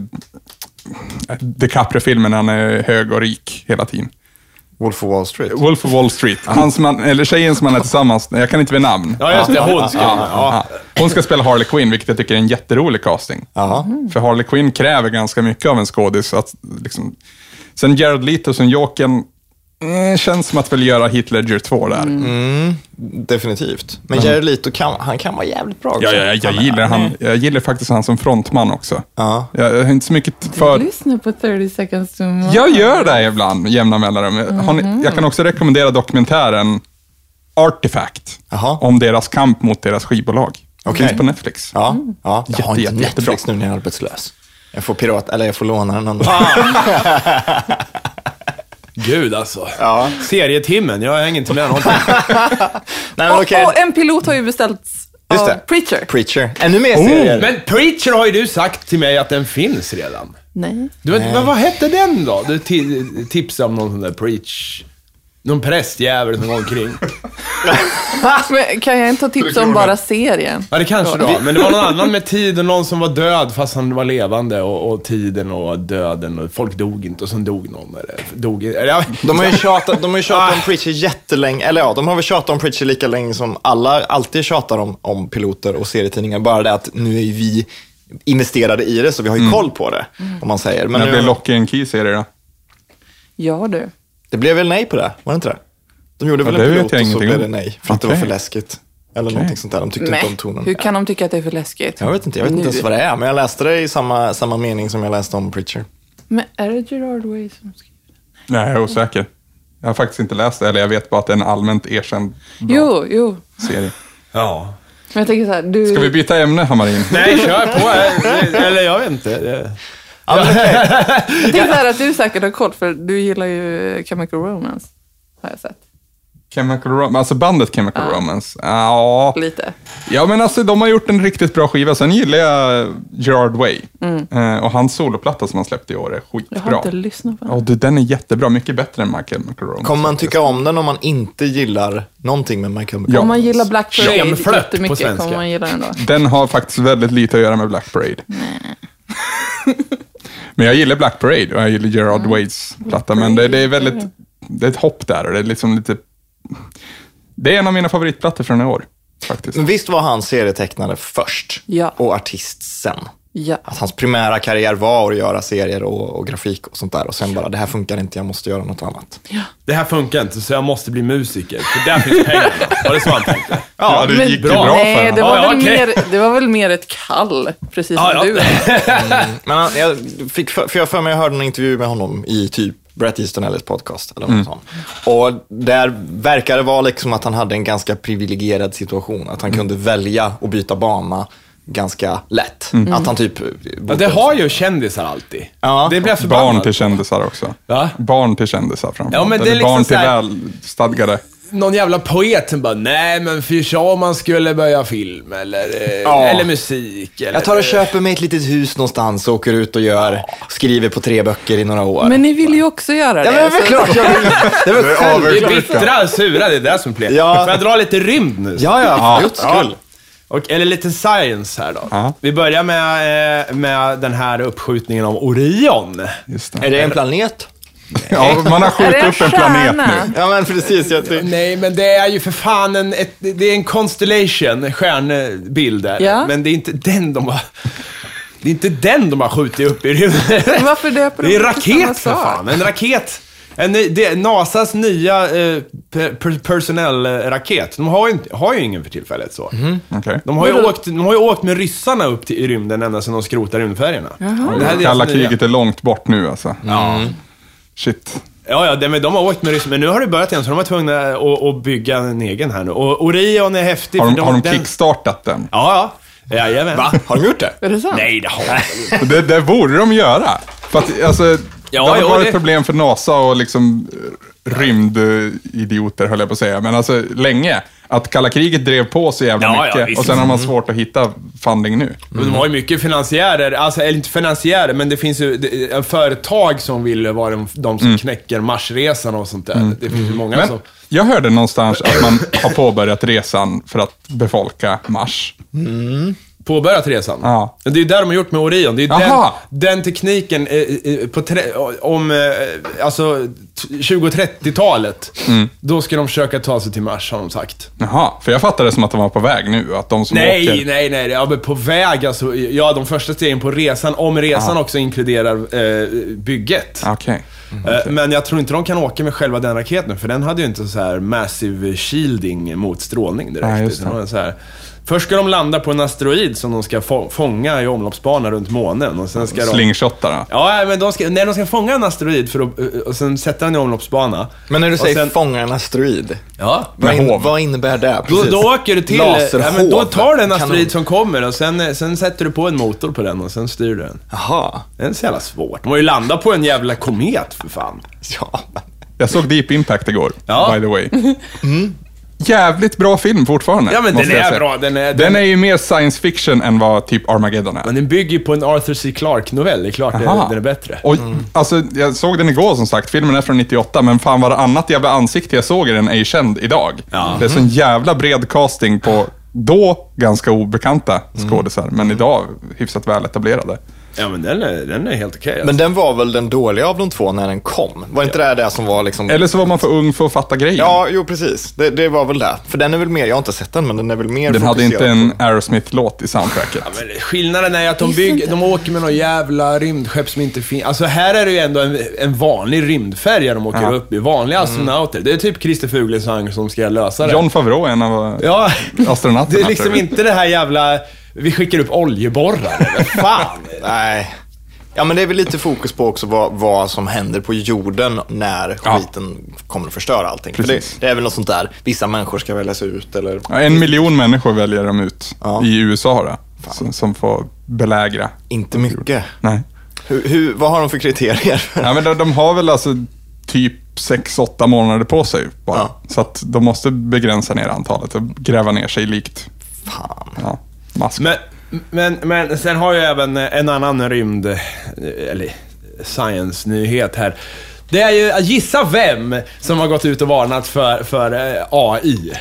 Speaker 3: DiCaprio-filmen, han är hög och rik hela tiden.
Speaker 1: Wolf of Wall Street.
Speaker 3: Wolf of Wall Street, han som han, eller tjejen som han är tillsammans jag kan inte vid namn.
Speaker 2: Ja, just det. Hon ska...
Speaker 3: Ja. Hon ska spela Harley Quinn, vilket jag tycker är en jätterolig casting.
Speaker 1: Jaha.
Speaker 3: För Harley Quinn kräver ganska mycket av en skådis. Att, liksom. Sen Jared Leto som Jokern, eh, känns som att väl göra Heath Ledger 2 där.
Speaker 2: Mm.
Speaker 1: Definitivt. Men Jared Leto, kan, han kan vara jävligt bra också.
Speaker 3: Ja, ja, jag, jag, gillar han, jag gillar faktiskt han som frontman också.
Speaker 1: Ja.
Speaker 3: Jag, jag har inte så mycket för...
Speaker 4: Lyssna på 30 seconds to Mars.
Speaker 3: Jag gör det ibland, med jämna mellanrum. Har ni,
Speaker 4: Mhm.
Speaker 3: jag kan också rekommendera dokumentären Artifact,
Speaker 1: Jaha.
Speaker 3: om deras kamp mot deras skivbolag.
Speaker 1: Okej.
Speaker 3: Finns på Netflix.
Speaker 1: Ja, ja. Jag har
Speaker 3: Jätte,
Speaker 1: inte
Speaker 3: jätte,
Speaker 1: Netflix
Speaker 3: jättebra.
Speaker 1: nu när jag är arbetslös. Jag får pirat, eller jag får låna den andra.
Speaker 2: Gud alltså. Serietimmen, jag hänger inte med någonting.
Speaker 1: Nej, men
Speaker 4: Och,
Speaker 1: okej.
Speaker 4: och en pilot har ju beställts
Speaker 1: Just
Speaker 4: av
Speaker 1: det.
Speaker 4: Preacher.
Speaker 1: Preacher. Ännu mer
Speaker 2: Oh,
Speaker 1: serier.
Speaker 2: men Preacher har ju du sagt till mig att den finns redan.
Speaker 4: Nej.
Speaker 2: Du, vet- men vad hette den då? Du ti- tipsade om någon sån där Preach. Någon prästjävel som går omkring.
Speaker 4: Men kan jag inte ha tips om bara serien?
Speaker 2: Ja, det kanske då. Men det var någon annan med tid och någon som var död fast han var levande och, och tiden och döden och folk dog inte och sen dog någon. Eller, dog, eller, ja.
Speaker 1: De har ju tjatat, de har ju tjatat om Preacher jättelänge, eller ja, de har väl tjatat om Preacher lika länge som alla alltid tjatar om, om piloter och serietidningar. Bara det att nu är ju vi investerade i det, så vi har ju koll på det, om man säger. Men
Speaker 3: När
Speaker 1: nu,
Speaker 3: blir Locky en Key-serie då?
Speaker 4: Ja du.
Speaker 1: det blev väl nej på det, var det inte det? De gjorde väl
Speaker 3: det
Speaker 1: en
Speaker 3: vet
Speaker 1: pilot
Speaker 3: jag
Speaker 1: och så
Speaker 3: ingenting
Speaker 1: blev
Speaker 3: om.
Speaker 1: det nej, för att det var
Speaker 3: Okej.
Speaker 1: för läskigt. Eller någonting sånt där, de tyckte inte om
Speaker 4: Nej,
Speaker 1: tonen.
Speaker 4: hur kan de tycka att det är för läskigt?
Speaker 1: Jag vet inte, jag vet inte
Speaker 4: Nu.
Speaker 1: ens vad det är, men jag läste det i samma, samma mening som jag läste om Preacher.
Speaker 4: Men är det Gerard Way som skriver?
Speaker 3: Nej, jag är osäker. Jag har faktiskt inte läst det, eller jag vet bara att det är en allmänt erkänd
Speaker 4: Jo, jo.
Speaker 3: serie.
Speaker 2: ja.
Speaker 4: Men jag tänker så här, du...
Speaker 3: Ska vi byta ämne, Hammarin?
Speaker 2: Nej, kör på. Eller jag vet inte. Det-
Speaker 1: Ja, men okej.
Speaker 4: Jag tänker så här att du säkert har koll, för du gillar ju Chemical Romance. Har jag sett.
Speaker 3: Chemical Romance, alltså bandet Chemical Romance. Ja.
Speaker 4: Lite.
Speaker 3: ja, men alltså de har gjort en riktigt bra skiva. Sen gillar jag Gerard Way. Eh, Och hans soloplatta som han släppte i år är
Speaker 4: Mm. Jag har
Speaker 3: skitbra.
Speaker 4: inte lyssnat på den.
Speaker 3: Ja, du, den är jättebra. Mycket bättre än My Chemical Romance.
Speaker 1: Kommer man tycka om den om man inte gillar någonting med My Chemical
Speaker 3: Ja.
Speaker 1: Romance?
Speaker 4: Om man gillar Black Parade
Speaker 2: Kemflört på
Speaker 4: jättemycket
Speaker 2: svenska.
Speaker 4: kommer man gilla den då.
Speaker 3: Den har faktiskt väldigt lite att göra med Black Parade. men jag gillar Black Parade och jag gillar Gerard Wades platta, men det, det är väldigt... Det är ett hopp där och det är liksom lite... Det är en av mina favoritplattor från i år, faktiskt.
Speaker 1: Men visst var han serietecknare först
Speaker 4: Ja.
Speaker 1: och artist sen?
Speaker 4: Ja.
Speaker 1: Att hans primära karriär var att göra serier och, och grafik och sånt där och sen bara, det här funkar inte, jag måste göra något annat.
Speaker 2: Det här funkar inte, så jag måste bli musiker. För där finns pengarna. Var det så han tänkte?
Speaker 3: Ja, det
Speaker 4: Men-
Speaker 3: gick ju bra för
Speaker 4: Nej,
Speaker 3: honom.
Speaker 4: det var,
Speaker 2: Ja, ja,
Speaker 4: väl
Speaker 2: okej.
Speaker 4: mer, det var väl mer ett kall, precis som
Speaker 2: Ja, ja.
Speaker 4: du är.
Speaker 1: Men han, jag fick för, för jag för mig jag hörde en intervju med honom i typ Brett Easton Ellis podcast eller något sånt. Och där verkar det vara liksom att han hade en ganska privilegierad situation. Att han kunde välja att byta bana ganska lätt. Att han typ...
Speaker 2: Ja, det har ju kändisar alltid.
Speaker 1: Ja.
Speaker 2: Det blir jag
Speaker 3: Barn
Speaker 2: förbannad.
Speaker 3: till kändisar också.
Speaker 2: Va?
Speaker 3: Barn till kändisar framför
Speaker 2: Ja, men
Speaker 3: allt.
Speaker 2: det är
Speaker 3: Eller
Speaker 2: liksom
Speaker 3: Barn
Speaker 2: så
Speaker 3: till
Speaker 2: här-
Speaker 3: välstadgade.
Speaker 2: någon jävla poet som bara, nej men fy tja om man skulle börja film eller, eh,
Speaker 1: Ja.
Speaker 2: eller musik. Eller,
Speaker 1: Jag tar och köper mig ett litet hus någonstans och åker ut och gör, skriver på tre böcker i några år.
Speaker 4: Men ni vill ju också göra det.
Speaker 1: ja, men det är väl
Speaker 4: så-
Speaker 1: klart jag vill. Det är väl
Speaker 2: Vi
Speaker 1: självklart.
Speaker 2: är bittra och sura, det är det som blir.
Speaker 1: Ja.
Speaker 2: Får jag dra lite rymd nu?
Speaker 1: Ja, ja, för guds skull.
Speaker 2: Och, eller lite science här då.
Speaker 3: Ja.
Speaker 2: Vi börjar med, eh, med den här uppskjutningen av Orion.
Speaker 3: Just
Speaker 1: Är
Speaker 3: det.
Speaker 1: det en planet?
Speaker 3: Ja, man har
Speaker 4: Är det
Speaker 3: skjutit upp en planet
Speaker 4: stjärna?
Speaker 3: nu.
Speaker 1: Ja, men precis. Jag tänkte-
Speaker 2: Nej, men det är ju för fan en, ett, det är en constellation, en stjärnbild där.
Speaker 4: Ja.
Speaker 2: Men det är inte den de har... Det är inte den de har skjutit upp i rymden.
Speaker 4: Varför döper de
Speaker 2: Det är en
Speaker 4: inte samma
Speaker 2: raket för
Speaker 4: sak?
Speaker 2: fan. En raket. En, ny- det är Nasas nya eh, per, per, personell-raket. De har ju, inte- har ju ingen för tillfället så.
Speaker 3: Okej.
Speaker 2: De, har ju åkt, de har ju åkt med ryssarna upp till, i rymden ända sedan de skrotade rymdfärjorna. Det här är deras
Speaker 3: Kalla
Speaker 2: nya-
Speaker 3: kriget är långt bort nu alltså. Shit.
Speaker 2: Ja, ja, det, men de har åkt med ryssarna. Men nu har det börjat igen, så de var tvungna att, att bygga en egen här nu. Och Orion är häftig.
Speaker 3: Har
Speaker 2: för
Speaker 3: de, har de
Speaker 2: den-
Speaker 3: kickstartat den?
Speaker 2: Ja, ja. Jajamän. Va?
Speaker 1: Har de gjort det?
Speaker 4: Är det sant?
Speaker 2: Nej, det har de inte.
Speaker 3: Det, det borde de göra. För att, alltså,
Speaker 2: Ja,
Speaker 3: det har
Speaker 2: jo,
Speaker 3: varit
Speaker 2: det-
Speaker 3: problem för NASA och liksom eh, rymdidioter, höll jag på att säga, men alltså länge. Att kalla kriget drev på så jävla
Speaker 2: Ja, ja,
Speaker 3: mycket
Speaker 2: visst. Mm.
Speaker 3: och sen har man svårt att hitta funding nu.
Speaker 2: Men De har ju mycket finansiärer, alltså eller inte finansiärer, men det finns ju det, eh, företag som vill vara de, de som knäcker Marsresan och sånt där. Det finns ju många
Speaker 3: Men
Speaker 2: som...
Speaker 3: jag hörde någonstans att man har påbörjat resan för att befolka Mars.
Speaker 2: Påbörjat resan.
Speaker 3: Ja.
Speaker 2: Det är ju där de har gjort med Orion. Det är ju den,
Speaker 3: Jaha.
Speaker 2: den tekniken eh, eh, på tre, om eh, alltså, t- 20-30-talet. Då ska de försöka ta sig till Mars, har de sagt. eh,
Speaker 3: Jaha, för jag fattade det som att de var på väg nu, att de som
Speaker 2: Nej,
Speaker 3: åker...
Speaker 2: nej, nej. Ja, men på väg alltså. Ja, de första stegen på resan, om resan också inkluderar eh, bygget.
Speaker 3: Ah, Okej.
Speaker 2: Eh, Men jag tror inte de kan åka med själva den raketen, för den hade ju inte så här massive shielding mot strålning direkt.
Speaker 3: Nej, just
Speaker 2: utan
Speaker 3: det.
Speaker 2: var så här. Först ska de landa på en asteroid som de ska få fånga i omloppsbana runt månen och sen ska de...
Speaker 3: Slingshottarna.
Speaker 2: Ja, men de ska, nej, de ska fånga en asteroid för att, eh, och sen sätta den i omloppsbana.
Speaker 1: Men när du
Speaker 2: Och
Speaker 1: säger
Speaker 2: sen-
Speaker 1: fånga en asteroid,
Speaker 2: Ja.
Speaker 1: vad, in,
Speaker 3: hov.
Speaker 1: vad innebär det?
Speaker 2: Då,
Speaker 1: Precis.
Speaker 2: då åker du till... eh, Ja, men då
Speaker 1: Laserhov.
Speaker 2: tar du en
Speaker 1: Kanon.
Speaker 2: asteroid som kommer och sen, eh, sen sätter du på en motor på den och sen styr du den.
Speaker 1: Jaha,
Speaker 2: Det är inte så jävla svårt. De har ju landat på en jävla komet för fan.
Speaker 1: ja.
Speaker 3: Jag såg Deep Impact igår,
Speaker 2: Ja. Mm.
Speaker 3: by the way. jävligt bra film fortfarande.
Speaker 2: Ja, men
Speaker 3: måste
Speaker 2: den
Speaker 3: jag
Speaker 2: är
Speaker 3: säga.
Speaker 2: bra. Den är-
Speaker 3: den...
Speaker 2: den-
Speaker 3: är ju mer science fiction än vad typ Armageddon är.
Speaker 2: Men den bygger ju på en Arthur C. Clarke-novell. Det är klart
Speaker 3: Aha.
Speaker 2: den, den är bättre. Mm.
Speaker 3: Och, alltså, jag såg den igår som sagt, filmen är från 98, men fan varannat jävla ansikte jag såg i den är ju känd idag. Det är sån jävla bred casting på då ganska obekanta
Speaker 2: Mm.
Speaker 3: skådisar, men idag hyfsat väletablerade.
Speaker 2: Ja, men den är, den är helt okej. alltså.
Speaker 1: Men den var väl den dåliga av de två när den kom? Var inte det det som var liksom...
Speaker 3: Eller så var man för ung för att fatta grejen.
Speaker 1: Ja, jo precis. Det, det var väl det. För den är väl mer, jag har inte sett den, men den är väl mer
Speaker 3: den hade inte
Speaker 1: fokuserad
Speaker 3: en Aerosmith-låt i soundtracket.
Speaker 2: Men Skillnaden är att de, bygger, de åker med någon jävla rymdskepp som inte finns. Alltså här är det ju ändå en, en vanlig rymdfärja de åker
Speaker 3: Ja. Mm.
Speaker 2: upp i. Vanliga astronauter. Det är typ Christer Fuglesang som ska lösa det.
Speaker 3: John Favreau är en av
Speaker 2: ja,
Speaker 3: astronauterna.
Speaker 2: det är liksom
Speaker 3: tror jag.
Speaker 2: inte det här jävla... Vi skickar upp oljeborrare. Vad Fan!
Speaker 1: Nej. Ja, men det är väl lite fokus på också vad, vad som händer på jorden när
Speaker 3: Ja.
Speaker 1: skiten kommer att förstöra allting. För
Speaker 3: Precis.
Speaker 1: det, det är väl något sånt där, vissa människor ska väljas ut eller...
Speaker 3: Ja, en miljon människor väljer de ut
Speaker 1: Ja.
Speaker 3: i USA då, som, som får belägra.
Speaker 1: Inte mycket.
Speaker 3: Nej.
Speaker 1: Hur, hur, vad har de för kriterier?
Speaker 3: Ja, men de, de har väl alltså typ 6-8 månader på sig bara.
Speaker 1: Ja.
Speaker 3: Så att de måste begränsa ner antalet och gräva ner sig likt.
Speaker 1: Fan.
Speaker 3: Ja, mask.
Speaker 2: Men, men, men sen har jag även eh, en annan rymd... eh, Eller science-nyhet här. Det är ju, gissa vem som har gått ut och varnat för, för eh, AI.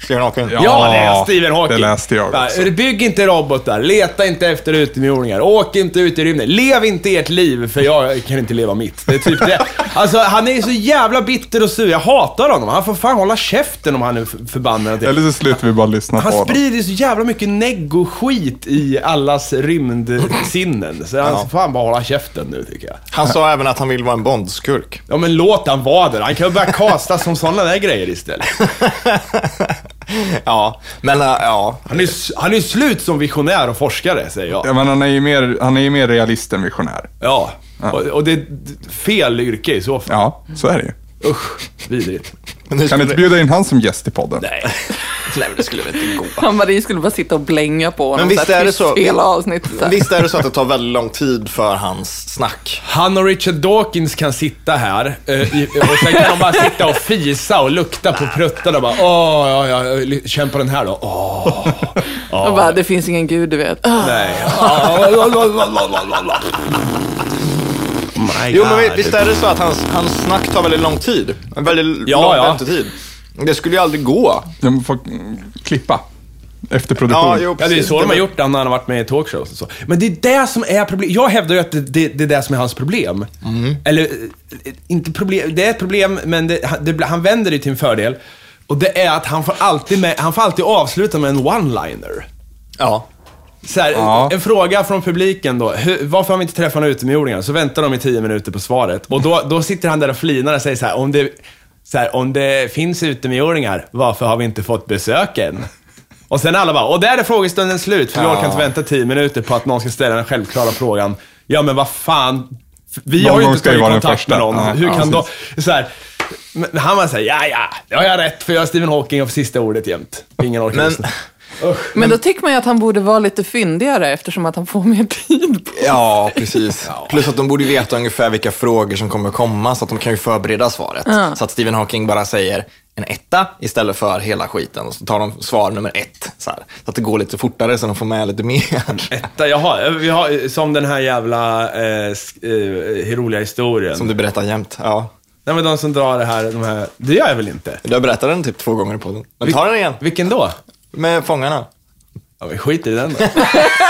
Speaker 1: Stephen Hawking?
Speaker 3: Ja.
Speaker 2: Ja, det är Stephen Hawking.
Speaker 3: det läste jag också.
Speaker 2: Va, Bygg inte robotar, leta inte efter utomjordingar, åk inte ut i rymden, lev inte ert liv för jag kan inte leva mitt. Det är typ det. Alltså, han är ju så jävla bitter och sur. Jag hatar honom. Han får fan hålla käften om han är f- förbannad.
Speaker 3: Eller så slutar vi bara lyssna på
Speaker 2: Han
Speaker 3: honom.
Speaker 2: sprider ju så jävla mycket neggo-skit i allas rymdsinnen. Så han får fan bara hålla käften nu tycker jag.
Speaker 1: Han sa även att han vill vara en Bondskurk.
Speaker 2: Ja men låt han vara där. Han kan ju börja kasta som sådana där grejer istället.
Speaker 1: ja, men äh, ja.
Speaker 2: Han är, ju s- han är ju slut som visionär och forskare säger jag.
Speaker 3: Ja, men han är ju mer, han är ju mer realist än visionär.
Speaker 2: Ja, Och, och det är d- fel yrke i så fall.
Speaker 3: Ja, så är det ju.
Speaker 2: Usch, vidrigt.
Speaker 1: Men
Speaker 3: Kan
Speaker 1: nu skulle-
Speaker 3: du inte bjuda in han som gäst i podden?
Speaker 2: Nej.
Speaker 1: Nej, men det skulle väl inte gå.
Speaker 4: Hammarin skulle bara sitta och blänga på honom.
Speaker 1: visst
Speaker 4: här
Speaker 1: är det
Speaker 4: tyst
Speaker 1: så-
Speaker 4: Hela avsnittet. där.
Speaker 1: Visst är det så att det tar väldigt lång tid för hans snack?
Speaker 2: Han och Richard Dawkins kan sitta här eh, i- och sen kan de bara sitta och fisa och lukta på pruttarna och bara åh, ja, ja, li- känn på den här då. Åh,
Speaker 4: Och bara, det finns ingen gud, du vet. Ah,
Speaker 2: nej. Oh my
Speaker 1: Jo, men vi- visst är det så att hans, hans snack tar väldigt lång tid? En väldigt
Speaker 2: Ja,
Speaker 1: lång
Speaker 2: ja.
Speaker 1: väntetid. Det skulle ju aldrig gå.
Speaker 3: De får mm, klippa efter produktion.
Speaker 1: Ja, jo,
Speaker 2: Ja, det är
Speaker 1: precis.
Speaker 2: så de har gjort det när han har varit med i talkshows och så. Men det är det som är problemet. Jag hävdar ju att det, det, det är det som är hans problem. Eller, eh, inte problem. Det är ett problem, men det, han, det, blir- han vänder det till en fördel. Och det är att han får alltid, med, han får alltid avsluta med en one-liner.
Speaker 1: Ja.
Speaker 2: Så här,
Speaker 3: Ja.
Speaker 2: En fråga från publiken då. Hur, varför har vi inte träffat några utomjordingar? Så väntar de i tio minuter på svaret. Och då, då sitter han där och flinar och säger så här, om det, så här, om det finns utomjordingar, varför har vi inte fått besök än? Och sen alla bara, och där är frågestunden slut, för vi orkar inte vänta tio minuter på att någon ska ställa den självklara frågan. Ja, men vad fan, vi
Speaker 3: Någon
Speaker 2: har ju
Speaker 3: gång
Speaker 2: inte
Speaker 3: ska ju
Speaker 2: tagit
Speaker 3: vara den
Speaker 2: kontakt med
Speaker 3: första.
Speaker 2: någon.
Speaker 3: Ja,
Speaker 2: Hur
Speaker 3: ja,
Speaker 2: kan då... Så här, men han var såhär, ja, ja, det har jag rätt för jag är Stephen Hawking och får sista ordet jämt. Ingen orkar
Speaker 1: Men,
Speaker 2: lyssna.
Speaker 4: Men då tycker man ju att han borde vara lite fyndigare eftersom att han får mer tid. på-
Speaker 1: ja, precis. Plus att de borde ju veta ungefär vilka frågor som kommer komma, så att de kan ju förbereda svaret. Så att Stephen Hawking bara säger en etta istället för hela skiten. Och så tar de svar nummer ett. Så, här. så att det går lite fortare, så de får med lite mer.
Speaker 2: Etta, jaha. Vi har, som den här jävla eh, sk- eh, roliga historien.
Speaker 1: Som du berättar jämt. Ja.
Speaker 2: Nej men de som drar det här, de här. Det gör jag väl inte?
Speaker 1: Du har berättat den typ två gånger i podden. Men ta den igen,
Speaker 2: Vilken då?
Speaker 1: med fångarna.
Speaker 2: Ja, vi skiter i den då.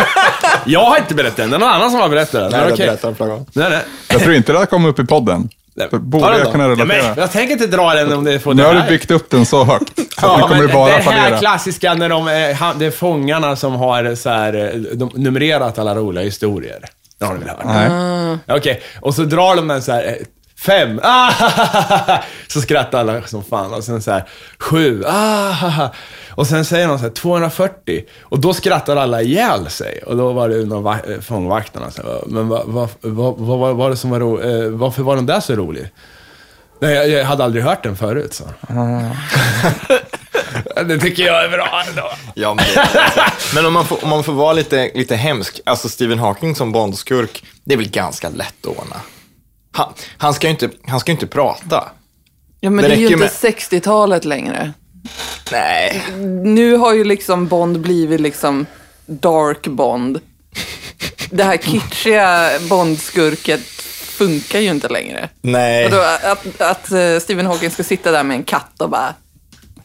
Speaker 2: jag har inte berättat den, det är någon annan som har berättat den.
Speaker 1: Nej,
Speaker 2: men
Speaker 1: du har
Speaker 2: okej.
Speaker 1: berättat den flera gånger.
Speaker 2: Nej, nej.
Speaker 3: Jag tror inte det här kommer upp i podden.
Speaker 2: Nej,
Speaker 3: Så
Speaker 2: ta
Speaker 3: Borde
Speaker 1: den
Speaker 3: jag
Speaker 1: då.
Speaker 3: kunna
Speaker 2: Ja, men,
Speaker 3: relatera.
Speaker 2: jag tänker inte dra den om det får
Speaker 3: Nu
Speaker 2: det
Speaker 3: har
Speaker 2: här.
Speaker 3: du byggt upp den så högt, så att
Speaker 2: Ja,
Speaker 3: nu kommer
Speaker 2: men
Speaker 3: det bara
Speaker 2: den här
Speaker 3: fallera.
Speaker 2: klassiska när de, är- han- det är fångarna som har så här, eh, de numrerat alla roliga historier. Det har ni väl hört? Ah.
Speaker 3: Nej.
Speaker 2: Okej, och så drar de den så här eh, fem, ah, så skrattar alla som fan. Och sen så här sju, ah, och sen säger någon så här 240 och då skrattar alla ihjäl sig. Och då var det någon va- eh, fångvaktarna så här, men vad va, va, va, va var det som var ro, eh, varför var den där så rolig? Nej, jag, jag hade aldrig hört den förut, så. Det tycker jag är bra ändå.
Speaker 1: Ja, men, det- men om, man får, om man får vara lite, lite hemsk, alltså Stephen Hawking som Bondskurk, det är väl ganska lätt att ordna. Han, han ska ju inte, han ska ju inte prata.
Speaker 4: Ja, men
Speaker 1: Det
Speaker 4: det, är ju
Speaker 1: räcker
Speaker 4: inte
Speaker 1: med-
Speaker 4: 60-talet längre.
Speaker 2: Nej.
Speaker 4: Nu har ju liksom Bond blivit liksom dark Bond. Det här kitschiga Bond-skurket funkar ju inte längre.
Speaker 1: Nej.
Speaker 4: Vadå, att, att eh, Stephen Hawking ska sitta där med en katt och bara...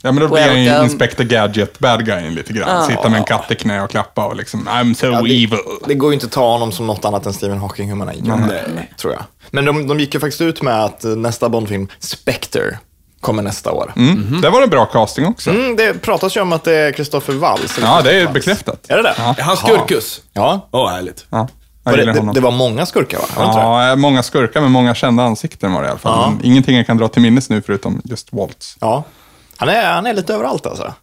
Speaker 3: Ja, men då blir han ju
Speaker 4: Welcome.
Speaker 3: Inspector Gadget, bad guyen lite grann. Sitta med en katt i knä och klappa och liksom, I'm so
Speaker 1: Ja, det,
Speaker 3: evil.
Speaker 1: det går ju inte att ta honom som något annat än Stephen Hawking, hur man än gör det, tror jag. Men de, de gick ju faktiskt ut med att eh, nästa Bondfilm, Spectre, kommer nästa år. Mm.
Speaker 3: Det var en bra casting också.
Speaker 1: det pratas ju om att det är Christopher Waltz. eller
Speaker 3: Ja, det
Speaker 1: Christopher
Speaker 3: är
Speaker 1: Waltz.
Speaker 3: bekräftat.
Speaker 1: Är det det?
Speaker 3: Ja.
Speaker 2: Är han skurkus?
Speaker 1: Ja.
Speaker 2: Åh, härligt.
Speaker 3: Ja, jag
Speaker 1: Var det,
Speaker 3: gillar
Speaker 1: det,
Speaker 3: honom.
Speaker 1: det var många skurkar, va? Var det inte det?
Speaker 3: Ja, många skurkar men många kända ansikten var det i alla fall. Men ingenting jag kan dra till minnes nu förutom just Waltz.
Speaker 1: ja. Han, är, han är lite överallt alltså.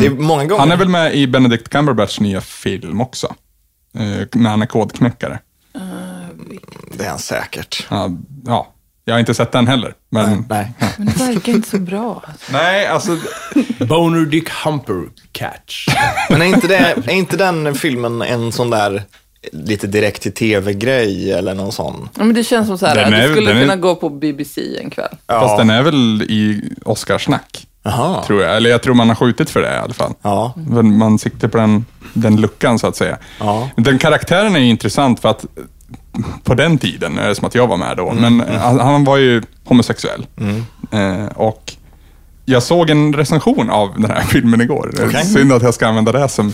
Speaker 1: Det är många gånger.
Speaker 3: Mm. Han är väl med i Benedict Cumberbatchs nya film också? Eh, när han är kodknäckare.
Speaker 1: Det är han säkert.
Speaker 3: Ja, ja, jag har inte sett den heller. Men... Nej.
Speaker 1: Nej.
Speaker 4: Men det verkar inte så bra.
Speaker 3: alltså...
Speaker 2: Boner Dick Humper Catch.
Speaker 1: Men är inte, det, är inte den filmen en sån där lite direkt till tv-grej eller någon sån?
Speaker 4: Ja, men det känns som så här
Speaker 3: Den
Speaker 4: att
Speaker 3: är-
Speaker 4: det skulle
Speaker 3: den är-
Speaker 4: kunna gå på BBC en kväll.
Speaker 3: Fast den är väl i Oscarsnack,
Speaker 1: Jaha.
Speaker 3: tror jag. Eller jag tror man har skjutit för det i alla fall.
Speaker 1: Ja.
Speaker 3: Men man siktar på den, den luckan, så att säga.
Speaker 1: Ja.
Speaker 3: Den karaktären är ju intressant för att på den tiden, är det som att jag var med då,
Speaker 1: Mm,
Speaker 3: men han, han var ju homosexuell. Eh, och jag såg en recension av den här filmen igår. Det är
Speaker 1: Okej.
Speaker 3: Synd att jag ska använda det som,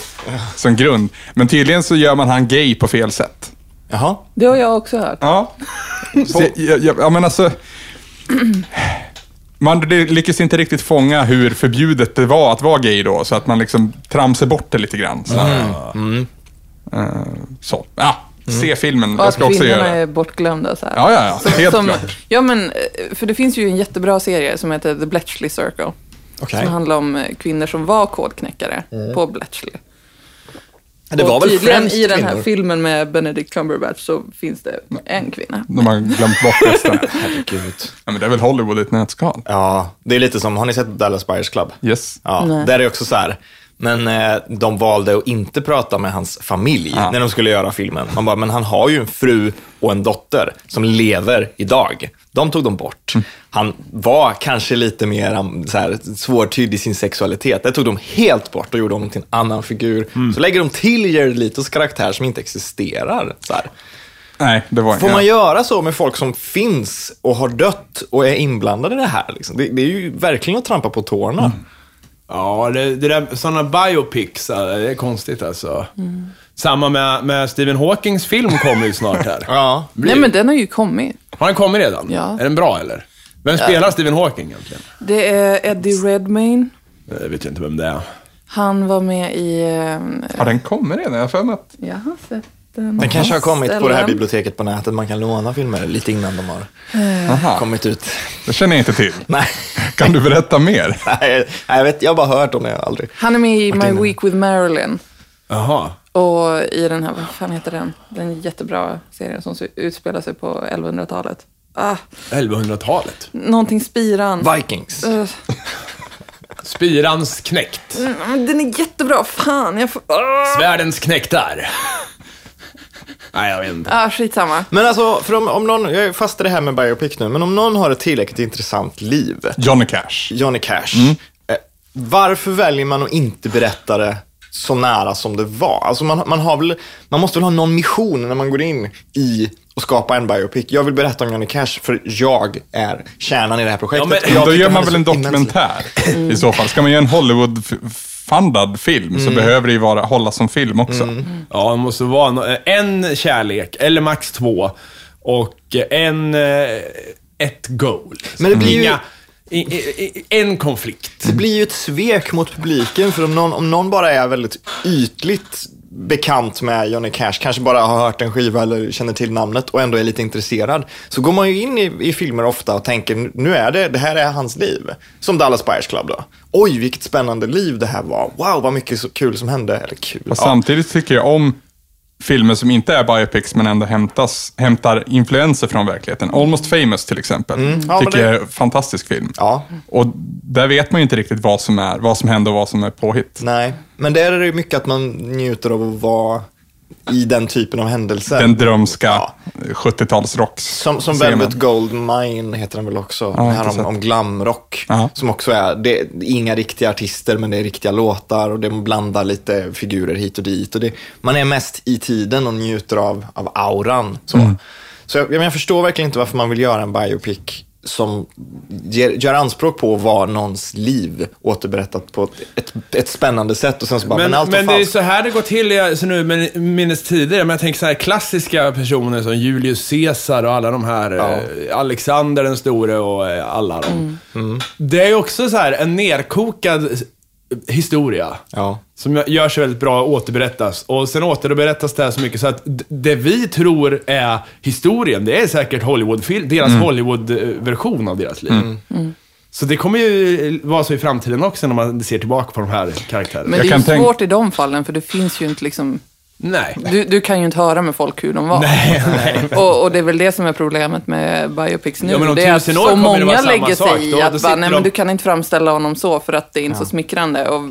Speaker 3: som grund. Men tydligen så gör man han gay på fel sätt.
Speaker 1: Jaha.
Speaker 4: Det har jag också hört.
Speaker 3: Ja. Så, jag, jag, ja, men alltså... Man lyckas inte riktigt fånga hur förbjudet det var att vara gay då, så att man liksom tramsar bort det lite grann. Så.
Speaker 1: Mm.
Speaker 3: Eh, så. Ja, se filmen.
Speaker 4: Och
Speaker 3: Jag
Speaker 4: att
Speaker 3: ska också göra
Speaker 4: kvinnorna
Speaker 3: det.
Speaker 4: är bortglömda. Så här.
Speaker 3: Ja, ja, ja. Helt klart.
Speaker 4: Ja, men, eh, för det finns ju en jättebra serie som heter The Bletchley Circle.
Speaker 1: Okej. Mm.
Speaker 4: Som handlar om eh, kvinnor som var kodknäckare på Bletchley.
Speaker 1: Det var
Speaker 4: och
Speaker 1: väl
Speaker 4: tydligen
Speaker 1: främst
Speaker 4: i den här
Speaker 1: kvinnor?
Speaker 4: filmen med Benedict Cumberbatch så finns det en kvinna.
Speaker 3: De har glömt bort resten.
Speaker 1: Gud.
Speaker 3: Ja, men det är väl Hollywood i ett nötskal.
Speaker 1: Ja, det är lite som, har ni sett Dallas Buyers Club?
Speaker 3: Yes.
Speaker 1: Ja, där är det också så här. Men eh, de valde att inte prata med hans familj när de skulle göra filmen. Man bara, men han har ju en fru och en dotter som lever idag. De tog de bort. Han var kanske lite mer um, så här, svårtydd i sin sexualitet. Det tog de helt bort och gjorde honom till en annan figur. Så lägger de till Jared Letos karaktär som inte existerar. Så här.
Speaker 3: Nej, det var
Speaker 1: Får man
Speaker 3: ja.
Speaker 1: göra så med folk som finns och har dött och är inblandade i det här? Liksom? Det, det är ju verkligen att trampa på tårna.
Speaker 3: Mm.
Speaker 2: Ja, det, det där, sådana biopics, äh, det är konstigt alltså. Samma med, med Stephen Hawkings film kommer ju snart här.
Speaker 1: Ja.
Speaker 4: Nej, men den har ju kommit.
Speaker 2: Har den kommit redan?
Speaker 4: Ja.
Speaker 2: Är den bra eller? Vem spelar Stephen Hawking egentligen?
Speaker 4: Det är Eddie Redmayne.
Speaker 2: Jag vet ju inte vem det är.
Speaker 4: Han var med i... eh,
Speaker 3: Har den kommit redan? Jag har för mig att...
Speaker 4: Jag har sett den.
Speaker 3: Mm.
Speaker 1: Den kanske har kommit på det här
Speaker 4: ställen.
Speaker 1: biblioteket på nätet. Man kan låna filmer lite innan de har
Speaker 3: Aha,
Speaker 1: kommit ut.
Speaker 3: det känner jag inte till.
Speaker 1: Nej,
Speaker 3: Kan du berätta mer?
Speaker 1: nej jag, vet, jag har bara hört om det. Jag har aldrig.
Speaker 4: Han är med i My Week with Marilyn.
Speaker 2: Jaha.
Speaker 4: Och i den här, vad fan heter den? Den jättebra serien som utspelar sig på 1100-talet. Ah,
Speaker 2: 1100-talet.
Speaker 4: någonting spiran.
Speaker 1: Vikings.
Speaker 4: Eh,
Speaker 2: Spirans knäckt.
Speaker 4: men den är jättebra, fan. Jag får... ah.
Speaker 2: Svärdens knäktar. Nej, jag vet inte.
Speaker 4: ah, skitsamma.
Speaker 1: Men alltså, för om, om någon, jag är fast i det här med biopic nu, men om någon har ett tillräckligt intressant liv,
Speaker 3: Johnny Cash. Mm.
Speaker 1: Johnny Cash, eh, varför väljer man att inte berätta det så nära som det var? Alltså man, man, har väl, man måste väl ha någon mission när man går in i och skapa en biopic. Jag vill berätta om Johnny Cash, för jag är kärnan i det här projektet.
Speaker 2: Ja, men-
Speaker 1: Och jag
Speaker 3: Men då
Speaker 1: tycker
Speaker 3: gör
Speaker 1: han
Speaker 3: man
Speaker 1: är
Speaker 3: väl
Speaker 1: så
Speaker 3: en
Speaker 1: immensligt-
Speaker 3: dokumentär i så fall. Ska man göra en Hollywood-fundad film
Speaker 1: Mm.
Speaker 3: så behöver det ju vara, hålla som film också.
Speaker 2: Ja, det måste vara nå- en kärlek, eller max två, och en... eh, Ett goal.
Speaker 1: Men det blir ju-
Speaker 2: Inga, i, i, i, en konflikt.
Speaker 1: Det blir ju ett svek mot publiken, för om någon, om någon bara är väldigt ytligt bekant med Johnny Cash, kanske bara har hört en skiva eller känner till namnet och ändå är lite intresserad, så går man ju in i, i filmer ofta och tänker nu är det, det här är hans liv. Som Dallas Buyers Club då. Oj, vilket spännande liv det här var. Wow, vad mycket så kul som hände. Eller kul.
Speaker 3: Och
Speaker 1: Ja.
Speaker 3: samtidigt tycker jag om filmer som inte är biopics men ändå hämtas, hämtar influenser från verkligheten. Almost famous till exempel.
Speaker 1: Mm. Ja, men
Speaker 3: tycker
Speaker 1: det-
Speaker 3: jag är en fantastisk film.
Speaker 1: Ja.
Speaker 3: Och där vet man ju inte riktigt vad som, är, vad som händer och vad som är påhitt.
Speaker 1: Nej, men där är det ju mycket att man njuter av att vara i den typen av händelser.
Speaker 3: Den drömska 70-talsrocks.
Speaker 1: Som, som
Speaker 3: scenen.
Speaker 1: Velvet Goldmine heter den väl också. den här
Speaker 3: inte
Speaker 1: om,
Speaker 3: sett.
Speaker 1: om glamrock.
Speaker 3: Ja.
Speaker 1: Som också är, det är inga riktiga artister men det är riktiga låtar och det blandar lite figurer hit och dit. Och det, man är mest i tiden och njuter av, av auran. Så,
Speaker 2: Mm.
Speaker 1: så jag, men jag förstår verkligen inte varför man vill göra en biopic som ger, gör anspråk på att vara någons liv återberättat på ett, ett, ett spännande sätt och sen så bara, men,
Speaker 2: Men,
Speaker 1: allt
Speaker 2: men det
Speaker 1: var
Speaker 2: är
Speaker 1: falskt.
Speaker 2: så här det går till, jag så nu men- minns tidigare, men jag tänker så här klassiska personer som Julius Caesar och alla de här, eh, Alexander den store och eh, alla de.
Speaker 1: Mm.
Speaker 2: Det är ju också så här en nerkokad s- historia.
Speaker 1: Ja.
Speaker 2: Som görs väldigt bra och återberättas. Och sen återberättas det här så mycket så att d- det vi tror är historien, det är säkert Hollywoodfilm, deras Hollywood-version av deras liv. Så det kommer ju vara så i framtiden också när man ser tillbaka på de här karaktärerna.
Speaker 4: Men
Speaker 3: Jag
Speaker 4: det är
Speaker 3: kan
Speaker 4: ju
Speaker 3: tänka-
Speaker 4: svårt i de fallen, för det finns ju inte liksom...
Speaker 2: Nej.
Speaker 4: Du, du kan ju inte höra med folk hur de var.
Speaker 2: Nej, nej.
Speaker 4: Och, och det är väl det som är problemet med biopics nu.
Speaker 2: Ja, men om
Speaker 4: det är att
Speaker 2: tusen år
Speaker 4: så
Speaker 2: kommer det vara
Speaker 4: många
Speaker 2: samma
Speaker 4: lägger sig
Speaker 2: sak.
Speaker 4: i
Speaker 2: Då- då
Speaker 4: att bara,
Speaker 2: sitter
Speaker 4: nej
Speaker 2: de-
Speaker 4: men du kan inte framställa honom så för att det är inte så smickrande. Och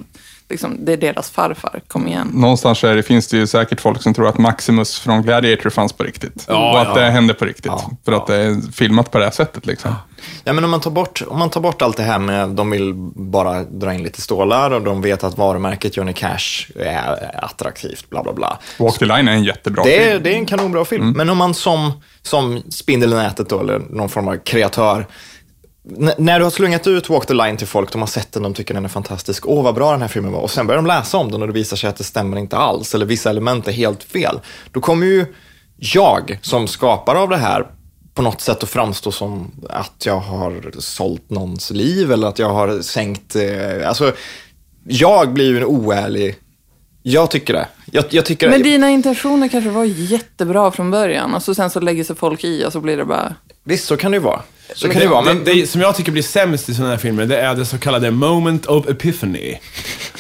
Speaker 4: liksom, det är deras farfar, kom igen.
Speaker 3: Någonstans där finns det ju säkert folk som tror att Maximus från Gladiator fanns på riktigt.
Speaker 2: Ja,
Speaker 3: och att
Speaker 2: ja.
Speaker 3: det hände på riktigt. för att det är filmat på det här sättet. Liksom.
Speaker 1: Ja, men om, man tar bort, om man tar bort allt det här med de vill bara dra in lite stålar och de vet att varumärket Johnny Cash är attraktivt, bla bla bla.
Speaker 3: Walk the line är en jättebra
Speaker 1: Det
Speaker 3: film.
Speaker 1: är, det är en kanonbra film. Men om man som, som spindel i nätet då, eller någon form av kreatör, n- när du har slungat ut Walk the Line till folk, de har sett den, de tycker den är fantastisk, åh vad bra den här filmen var, och sen börjar de läsa om den och det visar sig att det stämmer inte alls, eller vissa element är helt fel, då kommer ju jag som skapare av det här på något sätt att framstå som att jag har sålt någons liv eller att jag har sänkt, eh, alltså jag blir ju en oärlig, jag tycker det. Jag, jag tycker
Speaker 4: Men
Speaker 1: det.
Speaker 4: dina intentioner kanske var jättebra från början och så sen så lägger sig folk i och så blir det bara...
Speaker 1: Visst, så kan det ju vara. Så
Speaker 2: Men
Speaker 1: kan det ju vara, men
Speaker 2: det, som jag tycker blir sämst i sådana här filmer, det är det så kallade moment of epiphany.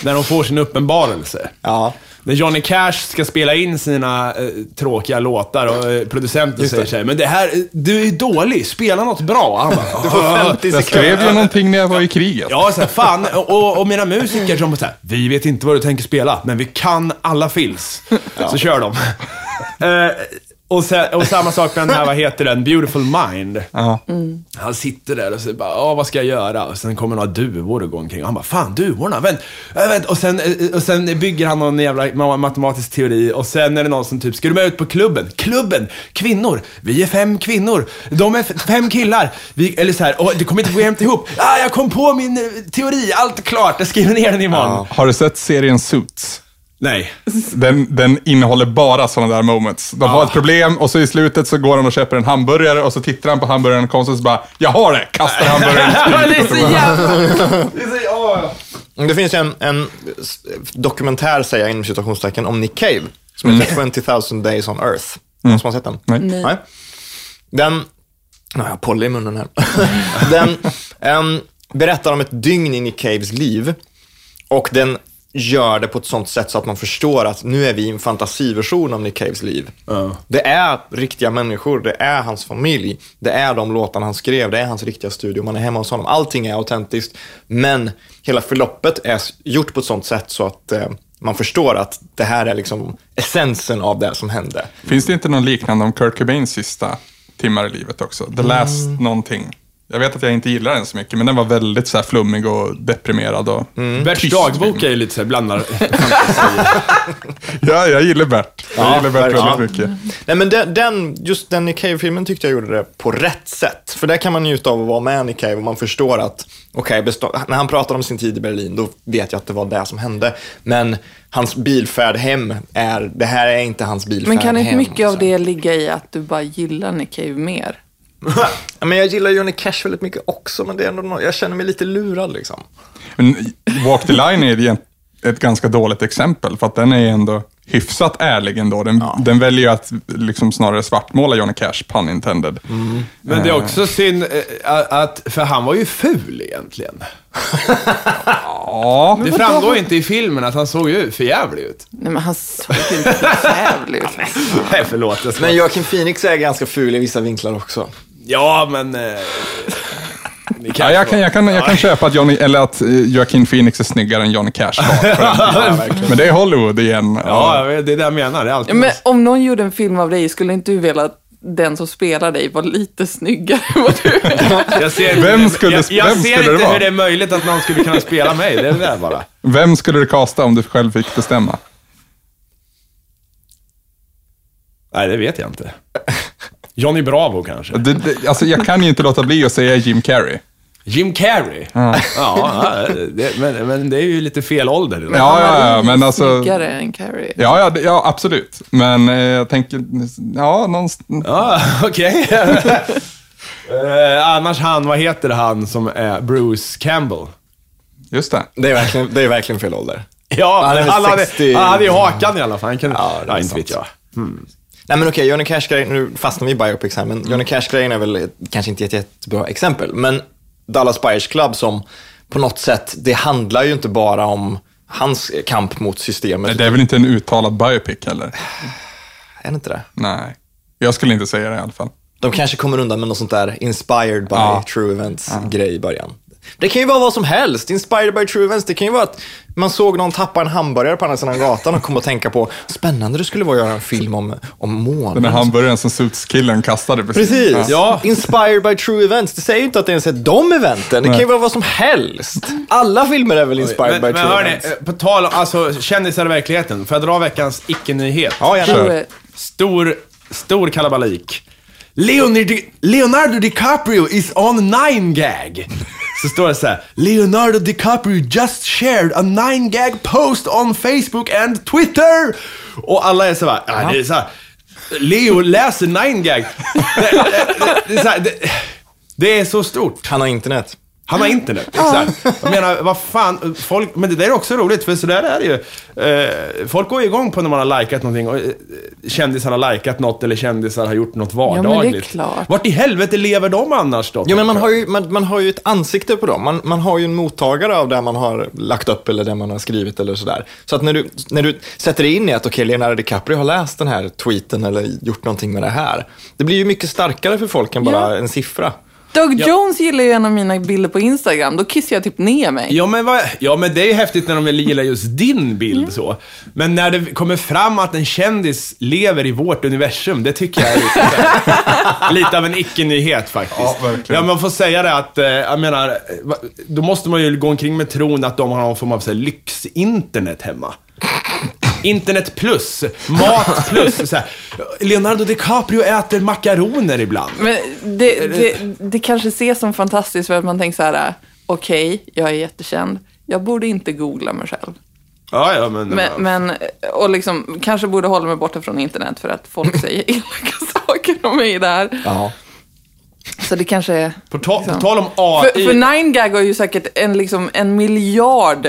Speaker 2: När de får sin uppenbarelse.
Speaker 1: Ja.
Speaker 2: När Johnny Cash ska spela in sina eh, tråkiga låtar och eh, producenten säger så här, men det här, du är dålig, spela något bra. Han bara,
Speaker 1: du får 50
Speaker 3: Jag skrev ju någonting när jag var i kriget.
Speaker 2: Ja, så här, fan. Och, och mina musiker som bara så här, vi vet inte vad du tänker spela, men vi kan alla fills. Så kör de. Eh, och, sen, och samma sak med den här, vad heter den, Beautiful Mind.
Speaker 3: Ja.
Speaker 2: Mm. Han sitter där och så bara, ja vad ska jag göra? Och sen kommer några duvor och går omkring. Och han bara, fan duvorna, vänt, äh, vänt. Och sen, eh, och sen bygger han någon jävla ma- matematisk teori och sen är det någon som typ, ska du med ut på klubben? Klubben! Kvinnor! Vi är fem kvinnor! De är f- fem killar! Vi, eller så här, och det kommer inte gå jämnt ihop. Ah, jag kom på min eh, teori, allt är klart, jag skriver ner den imorgon.
Speaker 3: Har du sett serien Suits?
Speaker 2: Nej.
Speaker 3: Den, den innehåller bara sådana där moments. De har ett problem och så i slutet så går han och köper en hamburgare och så tittar han på hamburgaren konstigt och så bara “Jag har det!” kastar hamburgaren.
Speaker 2: det är så jävla... Det är så, åh.
Speaker 1: Det finns ju en, en s- dokumentär, säger jag inom citationstecken, om Nick Cave. Som heter 20,000 days on earth. Någon som har sett den?
Speaker 3: Nej.
Speaker 1: Mm. Nej. Den, nu har jag poll i munnen här. den em, berättar om ett dygn in i Caves liv. Och den gör det på ett sånt sätt så att man förstår att nu är vi i en fantasiversion av Nick Caves liv. Det är riktiga människor, det är hans familj, det är de låtarna han skrev, det är hans riktiga studio, man är hemma hos honom. Allting är autentiskt, men hela förloppet är s- gjort på ett sånt sätt så att eh, man förstår att det här är liksom essensen av det som hände.
Speaker 3: Finns det inte någon liknande om Kurt Cobains sista timmar i livet också?
Speaker 2: Mm.
Speaker 3: The Last någonting. Jag vet att jag inte gillar den så mycket, men den var väldigt så här flummig och deprimerad. Och
Speaker 2: Mm. Berts
Speaker 3: Mm. tyst.
Speaker 2: dagbok är ju lite så här blandad.
Speaker 3: Ja, jag gillar Bert. Jag
Speaker 1: Ja,
Speaker 3: gillar Bert
Speaker 1: verkligen.
Speaker 3: väldigt mycket.
Speaker 1: Nej, men den- den, just den Nick Cave-filmen tyckte jag gjorde det på rätt sätt. För där kan man njuta av att vara med Nick Cave och man förstår att, okej, bestå- när han pratar om sin tid i Berlin, då vet jag att det var det som hände. Men hans bilfärd hem är, det här är inte hans bilfärd
Speaker 4: Men kan inte
Speaker 1: hem. liksom.
Speaker 4: mycket
Speaker 1: så.
Speaker 4: av det ligga i att du bara gillar Nick Cave mer?
Speaker 1: Ja, men jag gillar Johnny Cash väldigt mycket också, men det är ändå nå- jag känner mig lite lurad liksom.
Speaker 3: Men Walk the Line är egent- ett ganska dåligt exempel, för att den är ändå hyfsat ärlig ändå. Den, den väljer ju att liksom snarare svartmåla Johnny Cash, pun intended.
Speaker 2: Men det är också synd eh, att, för han var ju ful egentligen.
Speaker 3: Ja,
Speaker 2: Det framgår inte i filmen att han såg ju för jävlig ut.
Speaker 4: Nej, men han såg ju inte så jävlig ut.
Speaker 2: Nej, förlåt. Jag
Speaker 1: Men
Speaker 2: skojar.
Speaker 1: Joaquin Phoenix är ganska ful i vissa vinklar också.
Speaker 2: Ja, men... Eh, Det
Speaker 3: Ja, jag, kan, jag, kan, jag kan köpa att, Johnny, eller att eh, Joaquin Phoenix är snyggare än Johnny Cash. var för en tid. Men det är Hollywood igen.
Speaker 2: Ja, jag vet, det är det jag menar. Det är alltid
Speaker 4: Men om någon gjorde en film av dig, skulle inte du vilja att den som spelar dig var lite snyggare än vad du är?
Speaker 2: Jag ser inte,
Speaker 3: Vem skulle-
Speaker 2: jag, jag
Speaker 3: vem
Speaker 2: ser
Speaker 3: skulle det
Speaker 2: inte
Speaker 3: vara?
Speaker 2: hur det är möjligt att någon skulle kunna spela mig. Det är det där bara.
Speaker 3: Vem skulle du kasta om du själv fick bestämma?
Speaker 2: Nej, det vet jag inte. Johnny Bravo kanske?
Speaker 3: Det, det, alltså, jag kan ju inte låta bli att säga Jim Carrey.
Speaker 2: Jim Carrey? Ja, ja det, men, men det är ju lite fel ålder. det där.
Speaker 3: Ja, ja, ja, men alltså...
Speaker 4: Snyggare än Carrie.
Speaker 3: Ja, ja, det- ja, absolut. Men eh, jag tänker, ja, någonstans...
Speaker 2: Ja, okej. Eh, annars han, vad heter han som är Bruce Campbell?
Speaker 3: Just det.
Speaker 1: Det är verkligen, det är verkligen fel ålder.
Speaker 2: Ja,
Speaker 1: Han är
Speaker 2: han,
Speaker 1: väl
Speaker 2: han, hade,
Speaker 1: 60.
Speaker 2: han hade ju hakan i alla fall. Han kunde,
Speaker 1: Ja, det är
Speaker 2: inte
Speaker 1: sant.
Speaker 2: vet jag.
Speaker 1: Nej men okej, Johnny Cash-grejen, nu fastnar vi i biopics här,
Speaker 3: Mm.
Speaker 1: men Johnny Cash-grejen är väl ett- kanske inte ett jättebra exempel. Men Dallas Buyers Club som på något sätt, det handlar ju inte bara om hans kamp mot systemet.
Speaker 3: Det är väl inte en uttalad biopic heller?
Speaker 1: Är det inte det?
Speaker 3: Nej. Jag skulle inte säga det i alla fall.
Speaker 1: De kanske kommer undan med något sånt där inspired by
Speaker 3: Ja.
Speaker 1: true events-grej i början. Det kan ju vara vad som helst. Inspired by true events. Det kan ju vara att man såg någon tappa en hamburgare på andra sidan gatan och kom att tänka på spännande det skulle vara att göra en film om, om månen.
Speaker 3: Den här hamburgaren som Suits-killen kastade precis.
Speaker 1: Precis.
Speaker 3: Ja.
Speaker 1: Ja. Inspired by true events. Det säger ju inte att det ens är de eventen. Det kan ju vara vad som helst. Alla filmer är väl inspired
Speaker 2: Men, men
Speaker 1: by true
Speaker 2: hörni,
Speaker 1: events.
Speaker 2: eh, på tal om alltså, kändisar i verkligheten. Får jag dra veckans icke-nyhet?
Speaker 1: Ja, gärna.
Speaker 3: Kör.
Speaker 2: Stor, stor kalabalik. Leonardo, Leonardo DiCaprio is on nine gag. Så står det så här. Leonardo DiCaprio just shared a nine gag post on Facebook and Twitter. Och alla är så här, ja, det är så här. Leo läser nine gag. Det, det, det, det, är så här, det, det är så stort.
Speaker 1: Han har internet.
Speaker 2: Han har internet. Exakt. Jag menar, vad fan. Folk, men det där är också roligt, för sådär är det ju. Eh, folk går ju igång på när man har likat någonting. Och, eh, kändisar har likat något eller kändisar har gjort något
Speaker 4: men det är
Speaker 2: vardagligt.
Speaker 4: klart.
Speaker 2: Vart i helvete lever de annars då?
Speaker 1: Jo, men man har, ju, man, man har ju ett ansikte på dem. Man, man har ju en mottagare av det man har lagt upp eller det man har skrivit eller sådär. Så att när du, när du sätter dig in i att okej, Leonardo DiCaprio har läst den här tweeten eller gjort någonting med det här. Det blir ju mycket starkare för folk än bara
Speaker 4: Ja.
Speaker 1: en siffra.
Speaker 4: Doug Jones gillar ju en av mina bilder på Instagram. Då kissar jag typ ner mig.
Speaker 2: Ja men, vad, ja men det är ju häftigt när de vill gilla just din bild så. Men när det kommer fram att en kändis lever i vårt universum, det tycker jag är lite, såhär- lite av en icke-nyhet faktiskt.
Speaker 3: Ja, verkligen.
Speaker 2: Ja, man får säga det att, eh, jag menar, va- då måste man ju gå omkring med tron att de har någon form av så här, lyxinternet hemma. Internet plus, mat plus. Så här. Leonardo DiCaprio äter makaroner ibland.
Speaker 4: Men det, det, det kanske ses som fantastiskt för att man tänker så här, äh, okej, jag är jättekänd. Jag borde inte googla mig själv.
Speaker 2: Ja, ja, men,
Speaker 4: Men, men, och liksom, kanske borde hålla mig borta från internet för att folk säger elaka saker om mig där.
Speaker 1: Ja.
Speaker 4: Så det kanske är...
Speaker 2: på, ta, på
Speaker 4: liksom-
Speaker 2: tal om AI.
Speaker 4: För, för Nine Gag har ju säkert en, liksom, en miljard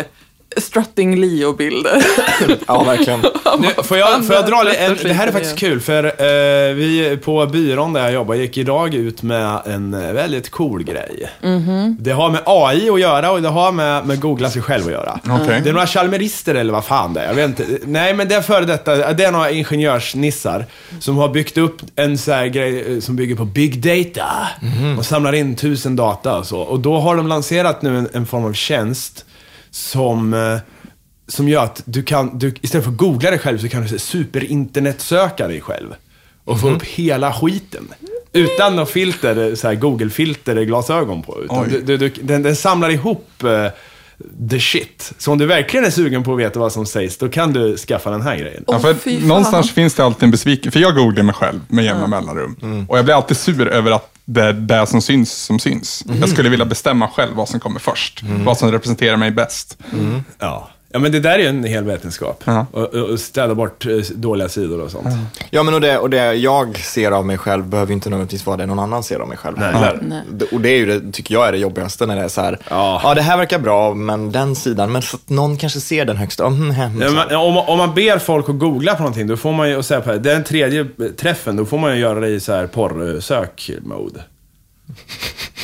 Speaker 4: Strutting Leo-bilder.
Speaker 1: ja, verkligen.
Speaker 2: Nu, får, jag, får jag dra li- en,
Speaker 4: Fan,
Speaker 2: Det här är faktiskt kul för eh, vi på byrån där jag jobbar gick idag ut med en eh, väldigt cool grej. Det har med AI att göra och det har med, med googla sig själv att göra.
Speaker 3: Okej.
Speaker 2: Det är några chalmerister eller vad fan det är. Jag vet inte. Nej men det är före detta, eh, det är några ingenjörsnissar som har byggt upp en så här grej eh, som bygger på big data. Och samlar in tusen data och så. Och då har de lanserat nu en, en form av tjänst som eh, som gör att du kan, du, istället för att googla dig själv så kan du så här superinternetsöka dig själv. Och få
Speaker 3: Mhm.
Speaker 2: upp hela skiten. Utan något filter, så här Google-filter eller glasögon på. Utan
Speaker 3: Oj.
Speaker 2: du, du, du, den, den samlar ihop eh, the shit. Så om du verkligen är sugen på att veta vad som sägs, då kan du skaffa den här grejen.
Speaker 3: Ja,
Speaker 4: Åh, fy
Speaker 3: för
Speaker 4: fan.
Speaker 3: någonstans finns det alltid en besvikelse, för jag googlar mig själv med jämna mellanrum. Och jag blir alltid sur över att det är det som syns som syns. Jag skulle vilja bestämma själv vad som kommer först, vad som representerar mig bäst.
Speaker 2: Ja. ja, men det där är ju en hel vetenskap.
Speaker 3: Ja.
Speaker 2: Och, och och städa bort eh, dåliga sidor och sånt.
Speaker 1: Ja, men och det, och det jag ser av mig själv behöver ju inte nödvändigtvis vara det någon annan ser av mig själv. heller.
Speaker 4: Nej.
Speaker 1: Det- Och det är ju det, tycker jag är det jobbigaste när det är så här,
Speaker 2: Ja.
Speaker 1: ja, det här verkar bra, men den sidan, men så att någon kanske ser den högst. Mm, hem,
Speaker 2: Ja,
Speaker 3: Liksom.
Speaker 2: men om, man- om man ber folk att googla på någonting, då får man ju, och säga på det här, den tredje träffen, då får man ju göra det i så här porrsök-mode.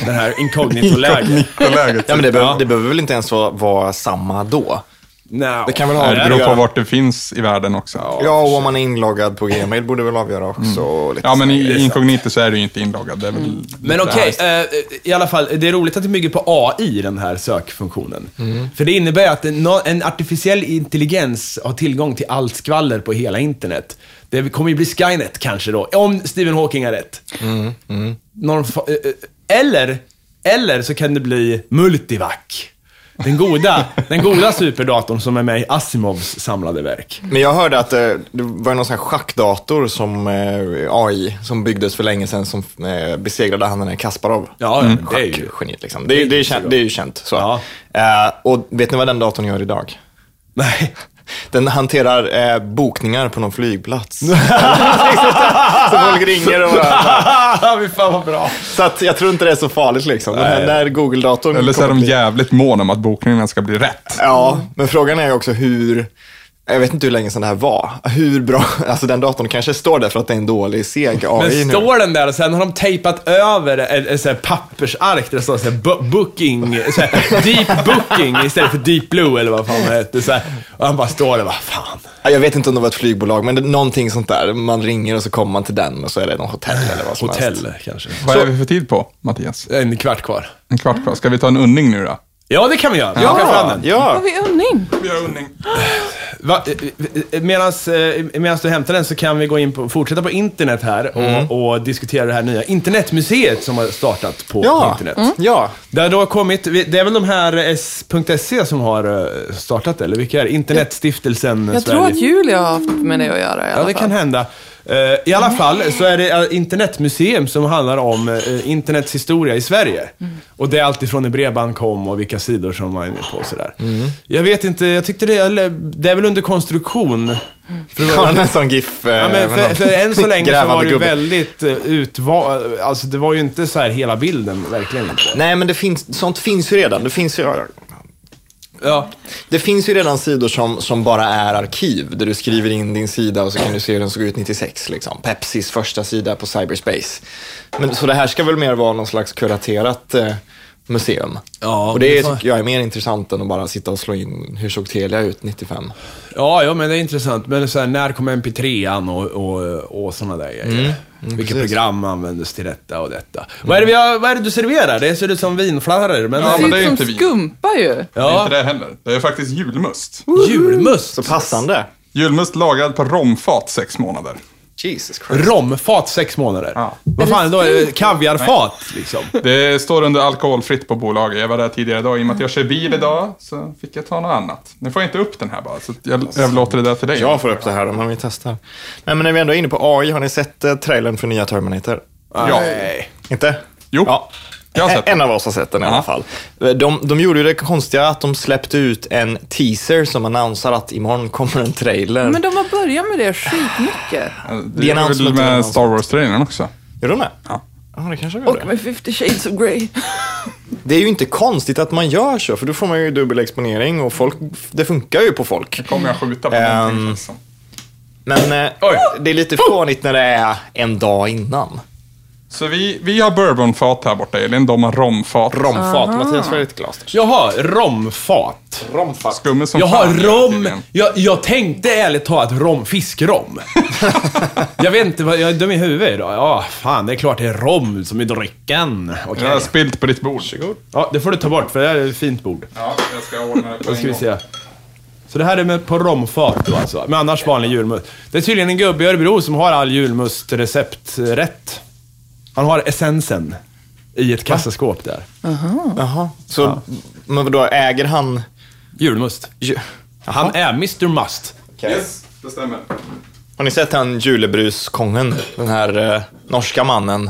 Speaker 2: Den här inkognito-läget.
Speaker 3: Kollegor.
Speaker 1: typ. Ja, men det, behöver, det behöver väl inte ens vara, vara samma då?
Speaker 2: No.
Speaker 1: Det kan väl
Speaker 3: Ja,
Speaker 1: ha
Speaker 3: det beror på vart det finns i världen också.
Speaker 1: Ja, och om man är inloggad på Gmail borde väl avgöra också. och lite
Speaker 3: Ja, men
Speaker 1: sådär.
Speaker 3: i inkognito så är du ju inte inloggad. Det är väl
Speaker 2: Men
Speaker 3: det
Speaker 2: okej,
Speaker 3: här.
Speaker 2: eh, i alla fall, det är roligt att det bygger på AI, den här sökfunktionen. För det innebär ju att en, nå- en artificiell intelligens har tillgång till allt skvaller på hela internet. Det kommer ju bli Skynet kanske då, om Stephen Hawking har rätt. Någon, fa- eh, eh, eller, eller så kan det bli Multivac. Den goda, den goda superdatorn som är med i Asimovs samlade verk.
Speaker 1: Men jag hörde att eh, det var någon sån här schackdator som eh, AI, som byggdes för länge sedan, som eh, besegrade han den här Kasparov.
Speaker 2: Ja, mm. det är ju...
Speaker 1: Schackgeniet liksom. Det, är- det, är känt, det är ju känt. Så.
Speaker 2: Ja.
Speaker 1: Eh, och vet ni vad den datorn gör idag?
Speaker 2: Nej.
Speaker 1: Den hanterar eh, bokningar på någon flygplats. så folk ringer och bara,
Speaker 2: Fy fan vad bra.
Speaker 1: Så att jag tror inte det är så farligt liksom. Den här, när Google-datorn
Speaker 3: Eller så är
Speaker 1: kommer
Speaker 3: de
Speaker 1: bli-
Speaker 3: jävligt måna om att bokningarna ska bli rätt.
Speaker 1: Ja, men frågan är ju också hur, jag vet inte hur länge sedan det här var, hur bra, alltså den datorn kanske står där för att det är en dålig seg
Speaker 2: Men
Speaker 1: AI nu.
Speaker 2: står den där och sen har de tejpat över en, en sån här pappersark där det står så här, bu- booking, så här, deep booking istället för deep blue eller vad fan det hette. Så här, och han bara står där vad fan.
Speaker 1: Ja, Jag vet inte om det var ett flygbolag, men det, någonting sånt där. Man ringer och så kommer man till den och så är det någon hotell eller vad som helst.
Speaker 2: Hotell kanske.
Speaker 3: Vad är vi för tid på, Mattias?
Speaker 2: En kvart kvar.
Speaker 3: En kvart kvar. Ska vi ta en unning nu då?
Speaker 2: Ja, det kan vi göra. Vi plockar fram den.
Speaker 4: Har
Speaker 1: ja.
Speaker 4: vi undning?
Speaker 3: Vi har unning.
Speaker 2: Va, eh, medans, eh, medans du hämtar den så kan vi gå in på, fortsätta på internet här och,
Speaker 1: Mm.
Speaker 2: och diskutera det här nya internetmuseet som har startat på
Speaker 1: Ja. Mm.
Speaker 2: internet.
Speaker 1: ja.
Speaker 2: Det har då kommit, det är väl de här eh, S.se som har eh, startat eller vilka är det? Internetstiftelsen
Speaker 4: Jag
Speaker 2: Sverige.
Speaker 4: tror att Julia har haft med det att göra i alla
Speaker 2: Ja, det
Speaker 4: fall.
Speaker 2: kan hända. Eh, I alla fall så är det eh, internetmuseum som handlar om eh, internets historia i Sverige.
Speaker 4: Mm.
Speaker 2: Och det är alltifrån när bredband kom och vilka sidor som man är med på och sådär.
Speaker 1: Mm.
Speaker 2: Jag vet inte, jag tyckte det, eller, det är väl under konstruktion. För det var-
Speaker 1: Har den en sån GIF? eh,
Speaker 2: Ja, men
Speaker 1: med
Speaker 2: för,
Speaker 1: någon
Speaker 2: för än så länge så
Speaker 1: grävande
Speaker 2: var det ju
Speaker 1: gubbe?
Speaker 2: väldigt utvald, alltså det var ju inte så här hela bilden, verkligen inte.
Speaker 1: Nej, men det finns, sånt finns ju redan. Det finns ju,
Speaker 2: Ja.
Speaker 1: det finns ju redan sidor som, som bara är arkiv, där du skriver in din sida och så kan du se hur den såg ut 96. Liksom. Pepsis första sida på cyberspace. Men, så det här ska väl mer vara någon slags kuraterat eh, museum.
Speaker 2: Ja,
Speaker 1: och det
Speaker 2: men så-
Speaker 1: tycker jag är mer intressant än att bara sitta och slå in hur såg Telia ut 95.
Speaker 2: Ja, ja, men det är intressant. Men så här, när kom MP3an och, och, och sådana där grejer?
Speaker 3: Mm.
Speaker 2: Vilket program användes till detta och detta? Vad, är det vi har, vad är det du serverar? Det ser ut som vinflarror, men...
Speaker 3: Ja,
Speaker 4: Det
Speaker 3: men
Speaker 4: ser
Speaker 3: det är
Speaker 4: ut
Speaker 3: inte
Speaker 4: som
Speaker 3: vi.
Speaker 4: skumpa ju.
Speaker 3: Det är
Speaker 2: Ja,
Speaker 3: inte det heller. Det är faktiskt julmust.
Speaker 2: julmust.
Speaker 1: Så passande.
Speaker 3: Julmust lagrad på romfat sex månader.
Speaker 1: Jesus Christ.
Speaker 2: Romfat sex månader.
Speaker 3: Ja.
Speaker 2: Vad fan, då? är det Kaviarfat, liksom.
Speaker 3: Det står under alkoholfritt på bolaget. Jag var där tidigare idag. I och med att jag kör bil idag så fick jag ta något annat. Nu får jag inte upp den här bara, så att jag överlåter det där till dig.
Speaker 1: Alltså, Jag får upp det här om man vill testa. Nej, men när vi ändå är inne på AI, har ni sett eh, trailern för nya Terminator?
Speaker 3: Ja.
Speaker 2: Nej.
Speaker 1: Inte?
Speaker 3: Jo.
Speaker 1: Ja.
Speaker 3: Jag har sett
Speaker 1: en
Speaker 3: den.
Speaker 1: av oss har sett den i alla
Speaker 3: Ja.
Speaker 1: fall. Eh, De, de gjorde ju det konstiga att de släppte ut en teaser som annonserar att imorgon kommer en trailer.
Speaker 4: Men de har börjat med det skitmycket.
Speaker 3: Det
Speaker 1: är en
Speaker 3: gör väl
Speaker 1: announcement, en
Speaker 3: med
Speaker 1: announcement.
Speaker 3: Star Wars-trailern också.
Speaker 1: Gör de det?
Speaker 3: Ja.
Speaker 1: Ja, det kanske de
Speaker 4: Och
Speaker 1: gjorde.
Speaker 4: med 50 shades of Grey.
Speaker 1: Det är ju inte konstigt att man gör så, för då får man ju dubbel exponering och folk, det funkar ju på folk.
Speaker 3: Kommer jag skjuta på
Speaker 1: Ehm.
Speaker 3: någonting känns som.
Speaker 1: Men eh,
Speaker 2: Oj.
Speaker 1: det är lite fånigt när det är en dag innan.
Speaker 3: Så vi, vi har bourbonfat här borta, Elin. De har romfat.
Speaker 1: Romfat. Mattias, vad är ditt glas?
Speaker 2: Jaha, romfat.
Speaker 1: Romfat.
Speaker 3: Skumme som
Speaker 2: Jag har
Speaker 3: fan,
Speaker 2: rom.
Speaker 3: tydligen.
Speaker 2: Jag, jag tänkte ärligt talat rom, fiskrom. jag vet inte, vad, jag är dum i huvudet idag. Ja, fan, det är klart det är rom som är drycken. Okej.
Speaker 3: Jag har spilt på ditt bord.
Speaker 2: Ja, det får du ta bort för det här är ett fint bord.
Speaker 3: Ja, jag ska ordna det på
Speaker 2: Då
Speaker 3: en
Speaker 2: ska vi
Speaker 3: gång.
Speaker 2: se. Så det här är med, på romfat då alltså, men annars vanlig julmust. Det är tydligen en gubbe i Örebro som har all julmustrecept rätt. Han har essensen i ett kassaskåp där.
Speaker 1: Jaha. Så, men vadå, äger han...
Speaker 2: Julmust.
Speaker 1: ju-
Speaker 2: Han är Mr Must.
Speaker 3: Yes, det stämmer.
Speaker 1: Har ni sett han julebruskången? Den här eh, norska mannen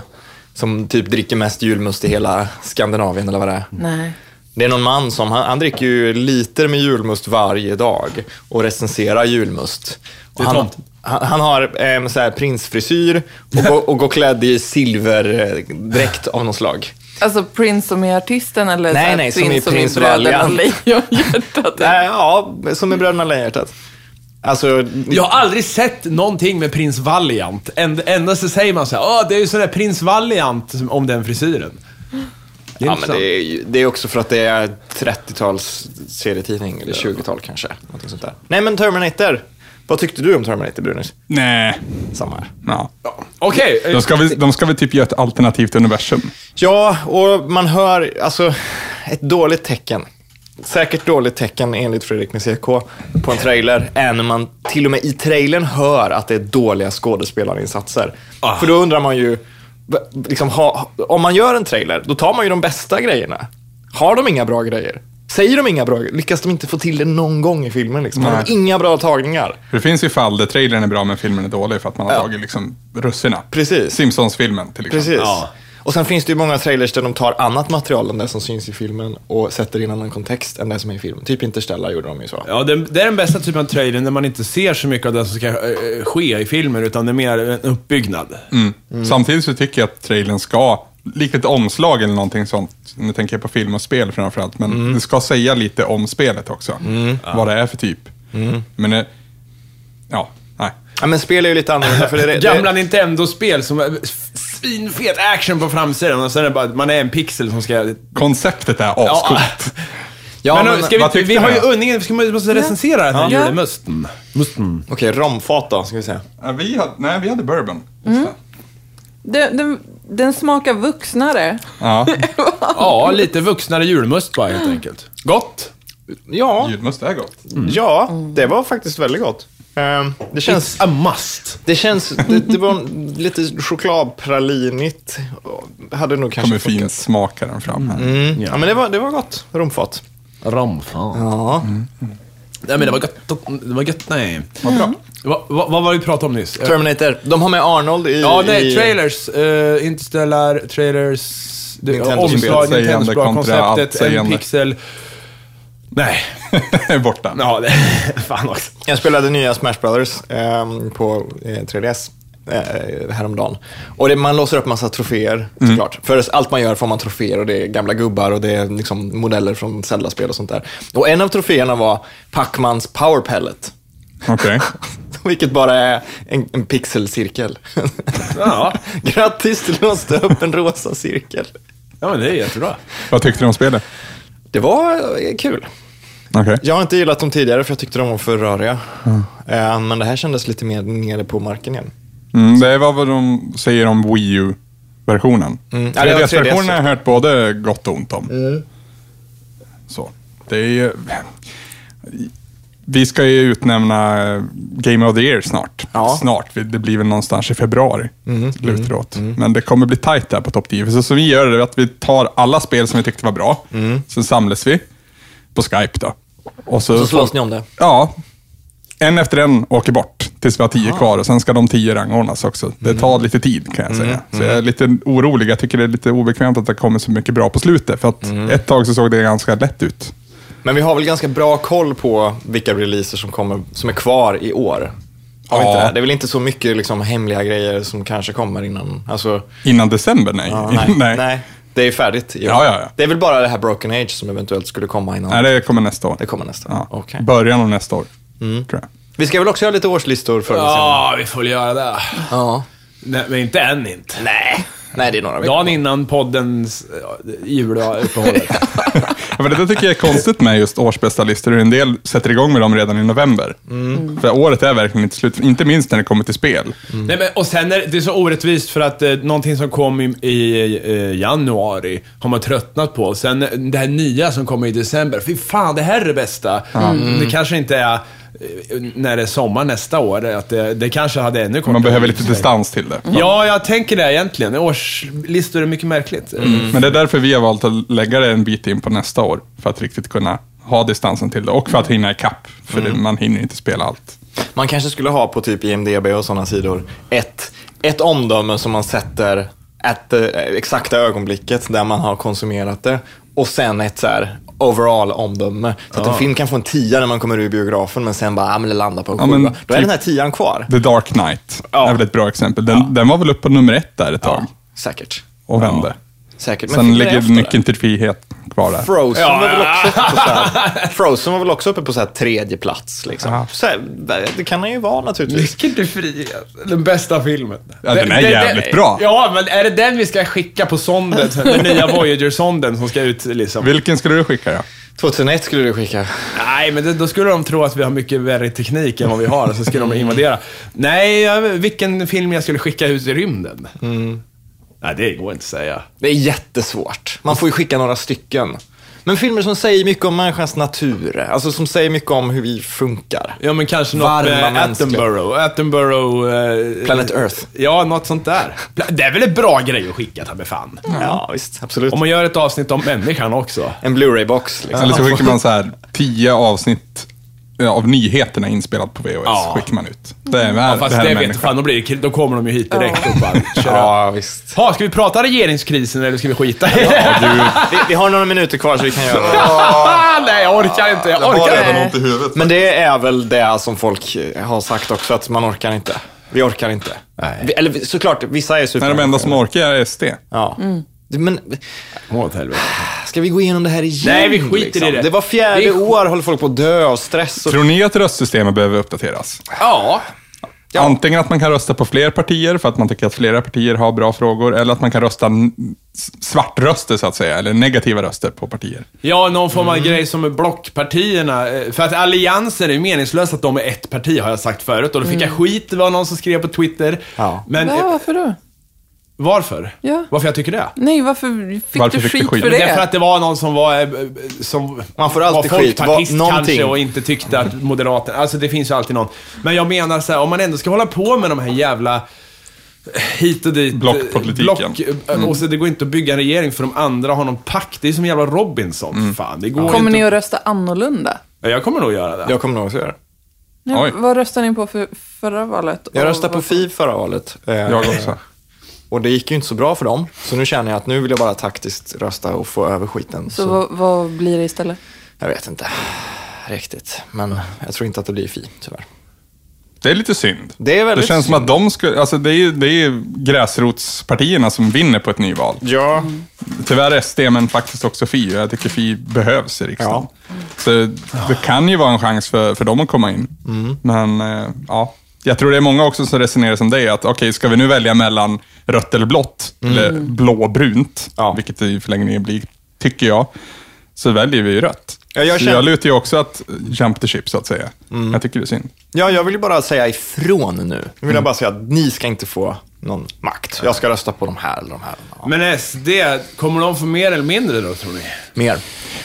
Speaker 1: som typ dricker mest julmust i hela Skandinavien eller vad det är.
Speaker 4: Nej.
Speaker 1: Det är någon man som, han, han dricker ju liter med julmust varje dag och recenserar julmust. Och
Speaker 2: är
Speaker 1: han,
Speaker 2: tomten.
Speaker 1: han, han har eh, så här prinsfrisyr och, går- och går klädd i silverdräkt av något slag.
Speaker 4: Alltså prins som är artisten eller
Speaker 1: Nej,
Speaker 4: så här,
Speaker 1: nej, som i Prins
Speaker 4: bröderna
Speaker 1: Valiant.
Speaker 4: Lejonhjärtat?
Speaker 1: Äh, ja, som i Bröderna Lejonhjärtat. Alltså,
Speaker 2: Jag har aldrig sett någonting med prins Valiant. Änd- Endast så säger man så här, "Åh, det är ju sån där prins Valiant som- om den frisyren. Det är
Speaker 1: ja, men
Speaker 2: intressant.
Speaker 1: det, är, ju- det är också för att det är 30-tals serietidning, eller 20-tal kanske. Någonting sånt där. Nej, men Terminator. Vad tyckte du om Terminator, Brunis?
Speaker 3: Nej.
Speaker 1: Samma här.
Speaker 3: Ja.
Speaker 2: Okej.
Speaker 3: De, ska väl, de ska väl typ göra ett alternativt universum.
Speaker 1: Ja, och man hör alltså ett dåligt tecken. Säkert dåligt tecken enligt Fredrik med CK på en trailer är när man till och med i trailern hör att det är dåliga skådespelarinsatser.
Speaker 2: Ah.
Speaker 1: För då undrar man ju, v- liksom, ha, om man gör en trailer, då tar man ju de bästa grejerna. Har de inga bra grejer? Säger de inga bra grejer? Lyckas de inte få till det någon gång i filmen? Liksom? Har de
Speaker 3: Nej.
Speaker 1: inga bra tagningar?
Speaker 3: För det finns ju fall där trailern är bra men filmen är dålig för att man har
Speaker 1: Ja.
Speaker 3: tagit liksom russina.
Speaker 1: Precis.
Speaker 3: Simpsons-filmen till exempel.
Speaker 1: Precis.
Speaker 2: Liksom. Ja.
Speaker 1: Och sen finns det ju många trailers där de tar annat material än det som syns i filmen och sätter in annan kontext än det som är i filmen. Typ Interstellar gjorde de ju så.
Speaker 2: Ja, det, det är den bästa typen av trailer när man inte ser så mycket av det som ska eh, ske i filmen, utan det är mer en uppbyggnad.
Speaker 3: Mm. Samtidigt så tycker jag att trailern ska, likt ett omslag eller någonting sånt, nu tänker jag på film och spel framförallt, men det ska säga lite om spelet också. Vad det är för typ. Men, eh, ja, nej.
Speaker 1: Ja, men spel är ju lite annorlunda för det, det,
Speaker 2: Gamla Nintendo-spel som är svinfet action på framsidan och sen är det bara, att man är en pixel som ska...
Speaker 3: Konceptet är
Speaker 2: Ja.
Speaker 3: ascoolt.
Speaker 1: Ja,
Speaker 2: men,
Speaker 1: men-
Speaker 2: ska
Speaker 3: vad
Speaker 2: vi,
Speaker 3: tyckte
Speaker 2: vi har
Speaker 3: ni?
Speaker 2: ju undringen, ska man måste recensera den här
Speaker 4: Ja.
Speaker 2: julemusten. Musten.
Speaker 1: Okej, romfat då, ska vi se.
Speaker 3: Ja. Vi hade, nej, vi hade bourbon. Just det.
Speaker 4: Den, den, den smakar vuxnare.
Speaker 3: Ja,
Speaker 2: Ja, lite vuxnare julmust bara helt enkelt. Gott. mm.
Speaker 1: Ja,
Speaker 3: ljudmust är gott.
Speaker 1: ja, det var faktiskt väldigt gott. Ehm, det känns...
Speaker 2: It's a must.
Speaker 1: Det känns... Det, det var en- lite chokladpralinigt. Hade nog kanske
Speaker 3: Kommer fint smakaren fram här.
Speaker 1: Ja, men det var, det var gott. Romfat.
Speaker 2: Ramfan.
Speaker 1: Ja.
Speaker 2: Nej men det var gött. Det var gött, nej.
Speaker 3: Vad bra.
Speaker 2: Va, va, vad var det vi pratade om nyss? Eh,
Speaker 1: Terminator. De har med Arnold i...
Speaker 2: Ja, nej,
Speaker 1: i-
Speaker 2: trailers. Uh, Interstellar, trailers, det-
Speaker 1: Nintendo-spel.
Speaker 2: omslag,
Speaker 3: Sägande
Speaker 2: Nintendo-spel,
Speaker 3: kontra allt
Speaker 2: konceptet, en
Speaker 3: sägande.
Speaker 2: pixel. Nej.
Speaker 3: Borta.
Speaker 2: Ja, det, fan också.
Speaker 1: Jag spelade nya Smash Brothers ehm, på eh, 3DS eh, häromdagen. Och det, man låser upp massa troféer såklart. För allt man gör får man troféer och det är gamla gubbar och det är liksom modeller från Zelda-spel och sånt där. Och en av troféerna var Pacmans Power Pellet.
Speaker 3: Okej.
Speaker 1: Vilket bara är en, en pixelcirkel.
Speaker 2: Ja.
Speaker 1: Grattis, du låste upp en rosa cirkel.
Speaker 2: Ja, men det är jättebra.
Speaker 3: Vad tyckte du om spelet?
Speaker 1: Det var eh, kul.
Speaker 3: Okej.
Speaker 1: Jag har inte gillat dem tidigare för jag tyckte de var för röriga. Eh, men det här kändes lite mer nere på marken igen.
Speaker 3: Mm, det var vad de säger om Wii U-versionen.
Speaker 1: Mm. Ja, det var Mm. 3DS.
Speaker 3: versionen har jag hört både gott och ont om. Så. Det är ju... Vi ska ju utnämna eh, Game of the Year snart.
Speaker 1: Ja. Mm,
Speaker 3: Snart, det blir väl någonstans i februari. Lutar åt. Men det kommer bli tajt där på topp 10. För så som vi gör det är att vi tar alla spel som vi tyckte var bra.
Speaker 1: Mm.
Speaker 3: Sen samlas vi på Skype då. Och så,
Speaker 1: Så slåss ni om det.
Speaker 3: Ja. En efter en åker bort tills vi har tio kvar och sen ska de tio rangordnas också. Det
Speaker 1: Mm.
Speaker 3: tar lite tid kan jag säga. Så jag är lite orolig. Jag tycker det är lite obekvämt att det kommer så mycket bra på slutet. För att
Speaker 1: Mm.
Speaker 3: ett tag så såg det ganska lätt ut.
Speaker 1: Men vi har väl ganska bra koll på vilka releaser som, kommer, som är kvar i år? Har vi
Speaker 3: Ja.
Speaker 1: inte det? det är väl inte så mycket liksom, hemliga grejer som kanske kommer innan? Alltså,
Speaker 3: Innan december, nej.
Speaker 1: nej, nej. Det är färdigt i år.
Speaker 3: Ja, ja, ja.
Speaker 1: Det är väl bara det här Broken Age som eventuellt skulle komma innan?
Speaker 3: Nej, det kommer nästa år.
Speaker 1: Det kommer nästa.
Speaker 3: Ja.
Speaker 1: Okej. Mm.
Speaker 3: Början av nästa år, tror jag.
Speaker 1: Vi ska väl också göra lite årslistor förr eller senare?
Speaker 2: Ja, vi får väl göra det.
Speaker 1: Ja.
Speaker 2: Nej, men inte än inte.
Speaker 1: Nej. Nej, det är några veckor.
Speaker 2: Dagen innan poddens eh, juluppehållet.
Speaker 3: Ja, men det där tycker jag är konstigt med just årsbästa listor. En del sätter igång med dem redan i november.
Speaker 1: Mm.
Speaker 3: För året är verkligen inte slut. Inte minst när det kommer till spel.
Speaker 2: Mm. Nej, men, och sen är det- det är så orättvist för att eh, någonting som kom i, i eh, januari har man tröttnat på. Sen eh, det här nya som kommer i december. Fy fan, det här är det bästa. Mm.
Speaker 3: Mm.
Speaker 2: Det kanske inte är eh, när det är sommar nästa år. Att det, det kanske hade ännu kortare
Speaker 3: Man behöver lite
Speaker 2: livslängd.
Speaker 3: distans till det.
Speaker 2: Ja, jag tänker det egentligen. Årslistor är mycket märkligt.
Speaker 3: Men det är därför vi har valt att lägga det en bit in på nästa år. För att riktigt kunna ha distansen till det och för att
Speaker 2: Mm.
Speaker 3: hinna ikapp. För det, man hinner inte spela allt.
Speaker 1: Man kanske skulle ha på typ IMDB och sådana sidor ett, ett omdöme som man sätter at the, exakta ögonblicket där man har konsumerat det och sen ett så här overall-omdöme. Så
Speaker 3: Ah.
Speaker 1: att en film kan få en tia när man kommer ur biografen men sen bara, ah, men det landar på en
Speaker 3: Ja,
Speaker 1: sjua.
Speaker 3: men
Speaker 1: Då är
Speaker 3: typ-
Speaker 1: den här tian kvar.
Speaker 3: The Dark Knight
Speaker 1: Ja.
Speaker 3: är väl ett bra exempel. Den, den var väl uppe på nummer ett där ett tag
Speaker 1: Säkert.
Speaker 3: och vände.
Speaker 1: Säkert.
Speaker 3: Sen
Speaker 1: filmen är
Speaker 3: ligger
Speaker 1: efter det.
Speaker 3: nyckeln till frihet kvar där.
Speaker 1: Frozen,
Speaker 2: Ja,
Speaker 1: var väl
Speaker 2: ja.
Speaker 1: också uppe på så här, Frozen var väl också uppe på så här tredje plats. Liksom. Så här, det kan han ju vara naturligtvis.
Speaker 2: Vilken du fri, alltså. den bästa filmen.
Speaker 3: Ja, den är jävligt bra.
Speaker 2: Ja, men är det den vi ska skicka på sonden sen? Den nya Voyager-sonden som ska ut liksom.
Speaker 3: Vilken skulle du skicka då?
Speaker 1: 2001 skulle du skicka.
Speaker 2: Nej, men det, då skulle de tro att vi har mycket värre teknik än vad vi har, så skulle de invadera. Nej, jag- vilken film jag skulle skicka ut i rymden? Nej, det går inte att säga.
Speaker 1: Det är jättesvårt. Man får ju skicka några stycken. Men filmer som säger mycket om människans natur, alltså som säger mycket om hur vi funkar.
Speaker 2: Ja, men kanske något
Speaker 1: Varma
Speaker 2: med
Speaker 1: mänskliga.
Speaker 2: Attenborough. Attenborough... Eh,
Speaker 1: Planet Earth.
Speaker 2: Ja, något sånt där. Det är väl en bra grej att skicka, ta mig fan.
Speaker 1: Ja, visst. Absolut.
Speaker 2: Om man gör ett avsnitt om människan också.
Speaker 1: En Blu-ray-box. Liksom.
Speaker 3: Eller så skickar man så här tio avsnitt eh, av nyheterna inspelat på VHS.
Speaker 2: Ja.
Speaker 3: Skickar man ut. Det är, ja,
Speaker 2: Fast
Speaker 3: det här
Speaker 2: det
Speaker 3: är
Speaker 2: vet
Speaker 3: människan.
Speaker 2: fan, då, blir, det- då kommer de ju hit direkt och bara kör ja.
Speaker 1: Ja, visst.
Speaker 2: ha, ska vi prata regeringskrisen eller ska vi skita i det?
Speaker 1: Vi, vi har några minuter kvar så vi kan göra det.
Speaker 2: Nej, jag orkar inte. Jag orkar inte.
Speaker 4: redan ont
Speaker 3: i huvudet.
Speaker 1: Men det är väl det som folk eh, har sagt också, att man orkar inte. Vi orkar inte.
Speaker 2: Nej.
Speaker 1: Vi, eller vi- såklart, vissa är super...
Speaker 3: Nej, de enda som orkar är SD.
Speaker 1: Ja. Det- Men
Speaker 2: Åh, åt helvete.
Speaker 1: ska vi gå igenom det här igen? liksom?
Speaker 2: Nej, vi skiter i det.
Speaker 1: Det var fjärde
Speaker 2: Vi sk-
Speaker 1: år håller folk på att dö av stress. Och...
Speaker 3: Tror ni att röstsystemet behöver uppdateras?
Speaker 2: Ja.
Speaker 3: Antingen att man kan rösta på fler partier för att man tycker att flera partier har bra frågor, eller att man kan rösta n- s- svartröster så att säga, eller negativa röster på partier.
Speaker 2: ja, någon form av grej som är blockpartierna. eh, För att allianser är meningslöst att de är ett parti, har jag sagt förut. Och då fick jag skit, det var någon som skrev på Twitter.
Speaker 1: Ja.
Speaker 2: Men
Speaker 4: Mm. Va,
Speaker 2: eh,
Speaker 4: varför då?
Speaker 2: varför?
Speaker 4: Ja.
Speaker 2: Varför jag tycker det?
Speaker 4: Nej, varför fick
Speaker 3: Varför
Speaker 4: du
Speaker 3: fick du
Speaker 4: skit
Speaker 3: skit?
Speaker 4: för
Speaker 3: Men
Speaker 4: det?
Speaker 2: Därför att det var någon som var... eh, eh, Som
Speaker 1: Man får alltid
Speaker 2: var
Speaker 1: skit. Var-
Speaker 2: folkpartist kanske
Speaker 1: någonting.
Speaker 2: och inte tyckte att Moderaterna... Alltså det finns ju alltid någon. Men jag menar så här, om man ändå ska hålla på med de här jävla... Hit och dit. eh,
Speaker 3: Blockpolitiken.
Speaker 2: Block, eh, och så det går inte att bygga en regering för de andra har någon pakt. Det är som jävla Robinson. Fan, det går
Speaker 4: Kommer
Speaker 2: inte.
Speaker 4: ni att rösta annorlunda?
Speaker 2: Ja, Jag kommer nog göra det.
Speaker 1: Jag kommer nog också göra det.
Speaker 4: Ja,
Speaker 3: Oj.
Speaker 4: vad röstade ni på för förra valet?
Speaker 1: Jag
Speaker 4: Och
Speaker 1: röstade på
Speaker 4: vad-
Speaker 1: FI förra valet. Eh,
Speaker 3: Jag också.
Speaker 1: Och det gick ju inte så bra för dem. Så nu känner jag att nu vill jag bara taktiskt rösta och få över skiten.
Speaker 4: Så vad, vad blir det istället?
Speaker 1: Jag vet inte riktigt. Men jag tror inte att det blir FI, tyvärr.
Speaker 3: Det är lite synd.
Speaker 1: Det är väldigt
Speaker 3: känns som att de skulle, alltså det är ju det är ju gräsrotspartierna som vinner på ett nyval.
Speaker 1: Ja.
Speaker 3: Tyvärr SD, men faktiskt också FI. Jag tycker FI behövs i riksdagen. Mm. Så det kan ju vara en chans för, för dem att komma in.
Speaker 1: Mm.
Speaker 3: Men eh, ja, jag tror det är många också som resonerar som dig, att okej, ska vi nu välja mellan rött eller blått, eller blåbrunt,
Speaker 1: Mm. Ja.
Speaker 3: vilket det i förlängningen blir, tycker jag, så väljer vi ju rött.
Speaker 1: Ja, jag
Speaker 3: så
Speaker 1: känner- Mm.
Speaker 3: jag lutar ju också att jump the ship, så att säga. Jag tycker det är synd.
Speaker 1: ja, jag vill ju bara säga ifrån nu. Nu vill jag bara säga att ni ska inte få någon makt. Jag ska rösta på de här eller de här. Ja.
Speaker 2: Men SD, kommer de få mer eller mindre då, tror ni?
Speaker 1: Mer.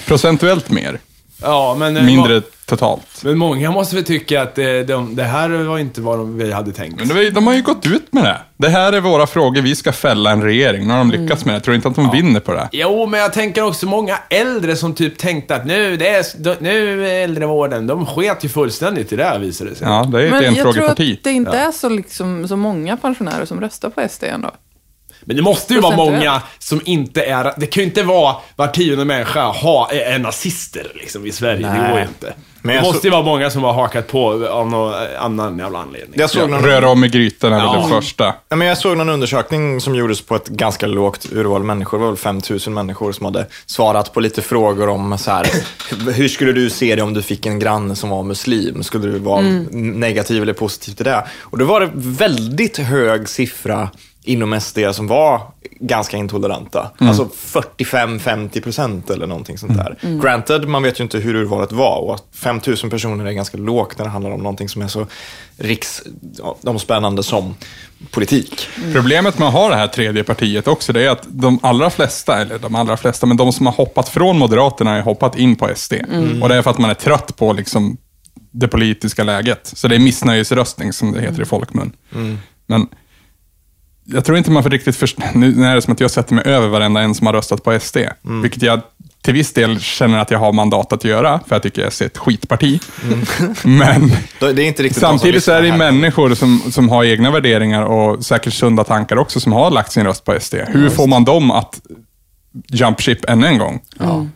Speaker 3: Procentuellt mer,
Speaker 2: Ja, men... eh,
Speaker 3: mindre
Speaker 2: må-
Speaker 3: totalt.
Speaker 2: Men många måste väl tycka att eh, de, det här var inte vad de, vi hade tänkt.
Speaker 3: Men det var ju- de har ju gått ut med det. Det här är våra frågor, vi ska fälla en regering. Nu har de
Speaker 4: Mm.
Speaker 3: lyckats med det. Jag tror inte att de vinner på det.
Speaker 2: Jo, men jag tänker också många äldre som typ tänkte att nu, det är, nu är äldrevården, de sket ju fullständigt i det här visade det sig.
Speaker 3: Ja, det är ett
Speaker 4: Men jag tror att
Speaker 3: enfrågeparti.
Speaker 4: det inte är så, liksom, så många pensionärer som röstar på SD ändå.
Speaker 2: Men det måste ju vara
Speaker 4: Procentuellt.
Speaker 2: många som inte är, det kan ju inte vara var tionde människa ha, eh, är, är nazister liksom i Sverige, det
Speaker 1: Nej.
Speaker 2: går ju inte.
Speaker 1: Men
Speaker 2: det
Speaker 1: jag
Speaker 2: måste
Speaker 1: så-
Speaker 2: ju vara många som har hakat på av någon annan jävla anledning.
Speaker 1: Jag såg någon...
Speaker 3: Röra om i grytan är väl det första.
Speaker 1: Nej, men jag såg någon undersökning som gjordes på ett ganska lågt urval människor. Det var väl 5 000 människor som hade svarat på lite frågor om så här, hur skulle du se det om du fick en granne som var muslim? Skulle du vara negativ eller positiv till det? Och då var det väldigt hög siffra inom SD som var ganska intoleranta.
Speaker 3: Mm.
Speaker 1: Alltså 45-50 procent eller någonting sånt där.
Speaker 3: Mm.
Speaker 1: Granted, man vet ju inte hur urvalet var och att 5 000 personer är ganska lågt när det handlar om någonting som är så riksomspännande som politik.
Speaker 3: Problemet med att ha det här tredje partiet också, det är att de allra flesta, eller de allra flesta, men de som har hoppat från Moderaterna har hoppat in på SD. Och det är för att man är trött på liksom, det politiska läget. Så det är missnöjesröstning, som det heter i folkmun. Men jag tror inte man får riktigt förstår. Nu är det som att jag sätter mig över varenda en som har röstat på SD. Vilket jag till viss del känner att jag har mandat att göra, för jag tycker SD är ett skitparti. Men
Speaker 1: Det är inte riktigt de som
Speaker 3: Samtidigt så är det ju
Speaker 1: lyssnar här.
Speaker 3: människor som, som har egna värderingar och säkert sunda tankar också, som har lagt sin röst på SD. Hur får man dem att jump ship ännu en gång? Mm.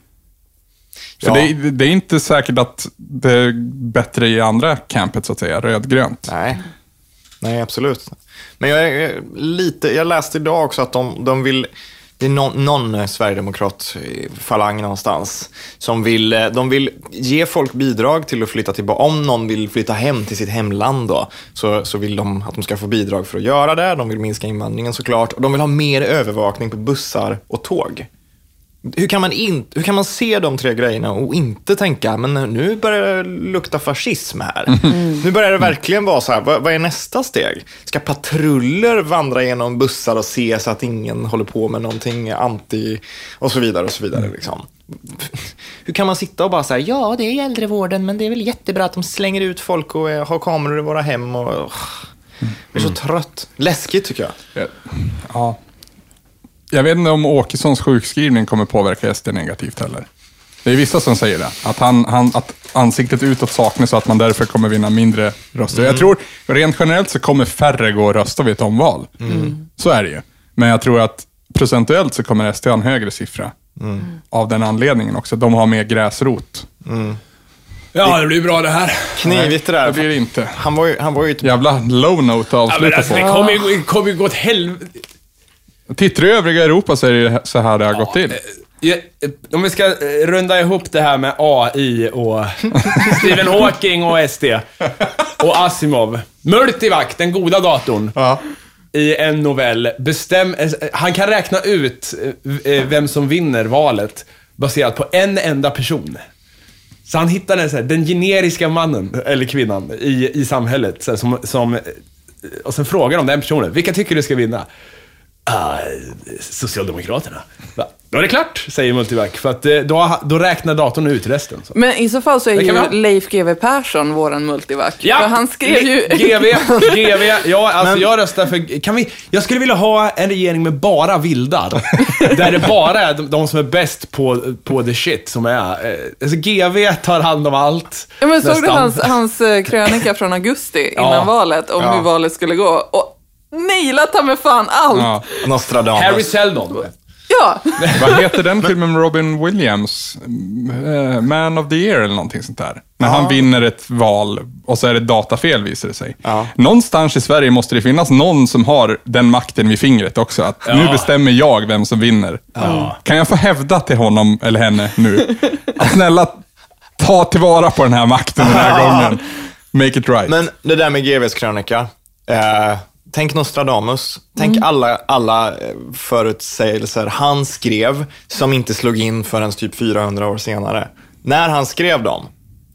Speaker 3: För
Speaker 1: Ja.
Speaker 3: det, det är inte säkert att det är bättre i andra campet, så att säga, rödgrönt.
Speaker 1: Nej. Nej, absolut. Men jag, är lite, jag läste idag också att de, de vill det är någon, någon eh, sverigedemokrat-falang någonstans som vill, eh, de vill ge folk bidrag till att flytta tillbaka. Om någon vill flytta hem till sitt hemland då, så, så vill de att de ska få bidrag för att göra det. De vill minska invandringen såklart och de vill ha mer övervakning på bussar och tåg. Hur kan, man in, hur kan man se de tre grejerna och inte tänka, men nu börjar det lukta fascism här. Nu börjar det verkligen vara så här, vad, vad är nästa steg? Ska patruller vandra genom bussar och se så att ingen håller på med någonting anti och så vidare och så vidare. Liksom. Hur kan man sitta och bara säga, ja det är äldrevården, men det är väl jättebra att de slänger ut folk och eh, har kameror i våra hem och... åh. Jag är så trött. Läskigt tycker jag.
Speaker 3: Ja. Jag vet inte om Åkessons sjukskrivning kommer påverka SD negativt heller. Det är vissa som säger det. Att, han, han, att ansiktet utåt saknas och att man därför kommer vinna mindre röster.
Speaker 2: Mm.
Speaker 3: Jag tror, rent generellt så kommer färre gå och rösta vid ett omval.
Speaker 2: Mm.
Speaker 3: Så är det ju. Men jag tror att procentuellt så kommer SD ha en högre siffra.
Speaker 2: Mm.
Speaker 3: Av den anledningen också. De har mer gräsrot.
Speaker 2: Ja, det blir bra det här.
Speaker 1: Knivigt det
Speaker 3: Det blir
Speaker 1: där.
Speaker 3: det inte.
Speaker 1: Han var ju, han var ju typ ett
Speaker 3: Jävla low note att
Speaker 2: Ja, men
Speaker 3: avsluta
Speaker 2: alltså, det
Speaker 3: på.
Speaker 2: kommer ju, det kommer ju gå åt helvete.
Speaker 3: Tittar du i övriga Europa så är det så här det har gått till.
Speaker 2: Ja, eh, Om vi ska eh, runda ihop det här med AI och Stephen Hawking och SD och Asimov. Multivac, den goda datorn,
Speaker 3: Ja.
Speaker 2: i en novell bestäm, eh, Han kan räkna ut eh, eh, vem som vinner valet baserat på en enda person. Så han hittar den, så här, den generiska mannen, eller kvinnan, i, i samhället. Så här, som, som, eh, och sen frågar de den personen, vilka tycker du ska vinna? "Ah, Socialdemokraterna. Va? Då är det klart, säger Multivac. För att eh, då, då räknar datorn ut resten. Så.
Speaker 4: Men i så fall så är
Speaker 2: Det kan vi ha.
Speaker 4: ju Leif GW Persson våran multivac.
Speaker 2: Ja!
Speaker 4: För han skrev ju...
Speaker 2: GV, GV. Ja, alltså jag röstar för... Kan vi, jag skulle vilja ha en regering med bara vildar. där det bara är de, de som är bäst på, på the shit som är... eh, Alltså GV tar hand om allt.
Speaker 4: Ja, men såg du
Speaker 2: nästan.
Speaker 4: hans, hans eh, krönika från augusti innan
Speaker 2: Ja.
Speaker 4: valet om hur valet skulle gå? Och nailat han med fan allt!
Speaker 3: Ja.
Speaker 4: Ja.
Speaker 1: Nostradamus.
Speaker 2: Harry Seldon.
Speaker 3: Vad heter den filmen med Robin Williams? Eh, Man of the year eller någonting sånt där. När han vinner ett val och så är det datafel visar det sig.
Speaker 1: Ja.
Speaker 3: Någonstans i Sverige måste det finnas någon som har den makten vid fingret också. Att nu bestämmer jag vem som vinner. Kan jag få hävda till honom eller henne nu? Att snälla ta tillvara på den här makten den här gången. Make it right.
Speaker 1: Men det där med GVs krönika. Eh, tänk Nostradamus. Tänk alla, alla eh, förutsägelser han skrev som inte slog in förrän typ 400 år senare. När han skrev dem,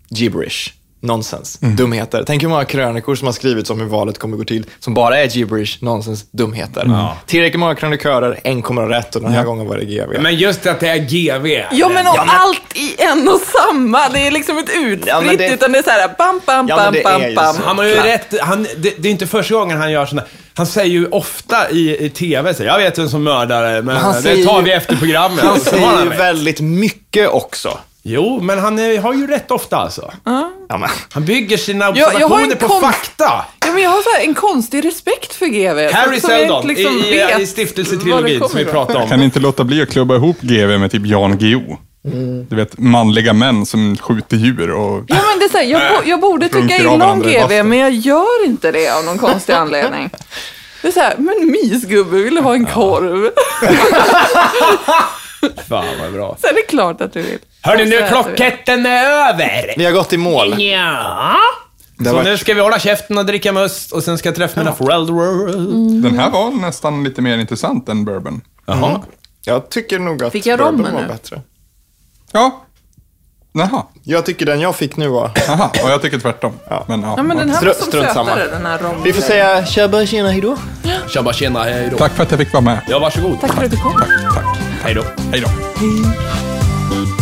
Speaker 1: gibberish. Nonsens, dumheter. Tänk hur många krönikor som har skrivits om hur valet kommer gå till som bara är gibberish, nonsens, dumheter. Tillräckligt många krönikörer, en kommer ha rätt och den här gången var det GV.
Speaker 2: Men just att det är GV.
Speaker 4: Ja men och allt i en och samma. Det är liksom inte utspritt
Speaker 1: Ja, men det-
Speaker 4: utan det är så här bam, bam,
Speaker 1: Ja, men
Speaker 4: bam,
Speaker 1: det är
Speaker 4: bam,
Speaker 1: ju
Speaker 4: bam.
Speaker 1: så.
Speaker 2: Han har ju
Speaker 1: Klart.
Speaker 2: rätt. Han, det, det är inte första gången han gör sådana. Han säger ju ofta i, i TV, så, här, jag vet vem som mördar, men
Speaker 1: han
Speaker 2: det
Speaker 1: säger
Speaker 2: tar
Speaker 1: ju-
Speaker 2: vi efter programmet.
Speaker 1: han
Speaker 2: Så har
Speaker 1: säger ju
Speaker 2: rätt.
Speaker 1: väldigt mycket också.
Speaker 2: Jo, men han är, har ju rätt ofta alltså.
Speaker 1: Ja, men.
Speaker 2: Han bygger sina
Speaker 4: jag har en
Speaker 2: observationer på
Speaker 4: konst-
Speaker 2: fakta.
Speaker 4: Ja, men jag har så här en konstig respekt för GV.
Speaker 2: Harry
Speaker 4: som- som jag
Speaker 2: Seldon
Speaker 4: inte liksom
Speaker 2: i,
Speaker 4: vet
Speaker 2: i, i stiftelsetrilogin
Speaker 4: var det
Speaker 2: som vi
Speaker 4: kommer ifrån.
Speaker 2: pratade om.
Speaker 3: Kan inte låta bli att klubba ihop GV med typ Jan Guillou.
Speaker 1: Mm.
Speaker 3: Du vet, manliga män som skjuter djur och...
Speaker 4: Ja, men det är så här, jag, bo, jag borde
Speaker 3: Runkar
Speaker 4: tycka
Speaker 3: av
Speaker 4: illa om
Speaker 3: varandra i
Speaker 4: GV,
Speaker 3: bastun.
Speaker 4: men jag gör inte det av någon konstig anledning. Det är så här, men mysgubbe, vill du ha en korv?
Speaker 2: Fan vad bra.
Speaker 4: Så är det klart att du vill.
Speaker 2: Hörni, nu
Speaker 4: Så
Speaker 2: är
Speaker 4: äter vi.
Speaker 2: klocketten är över.
Speaker 1: Vi har gått i mål.
Speaker 2: Ja.
Speaker 1: har
Speaker 2: Så
Speaker 1: varit-
Speaker 2: nu ska vi hålla käften och dricka must och sen ska jag träffa mina föräldrar.
Speaker 3: Den här var nästan lite mer intressant än bourbon.
Speaker 2: Jaha.
Speaker 1: Jag tycker nog att
Speaker 4: Fick jag
Speaker 1: bourbon
Speaker 4: rommen
Speaker 1: var
Speaker 4: nu?
Speaker 1: bättre.
Speaker 3: Ja. Jaha.
Speaker 1: Jag tycker den jag fick nu var...
Speaker 3: Jaha. Och jag tycker tvärtom. Men, ja.
Speaker 4: Ja, men den här var
Speaker 1: Strunt-
Speaker 4: som
Speaker 1: strunt
Speaker 4: sötare,
Speaker 1: samma.
Speaker 4: den här rommen.
Speaker 1: Vi får säga tjabba, tjena, hejdå.
Speaker 2: Tjabba tjena, hej då.
Speaker 3: Tack för att jag fick vara med.
Speaker 2: Ja, varsågod.
Speaker 4: Tack för att du kom.
Speaker 3: Tack.
Speaker 2: Hej då.
Speaker 3: Hej då.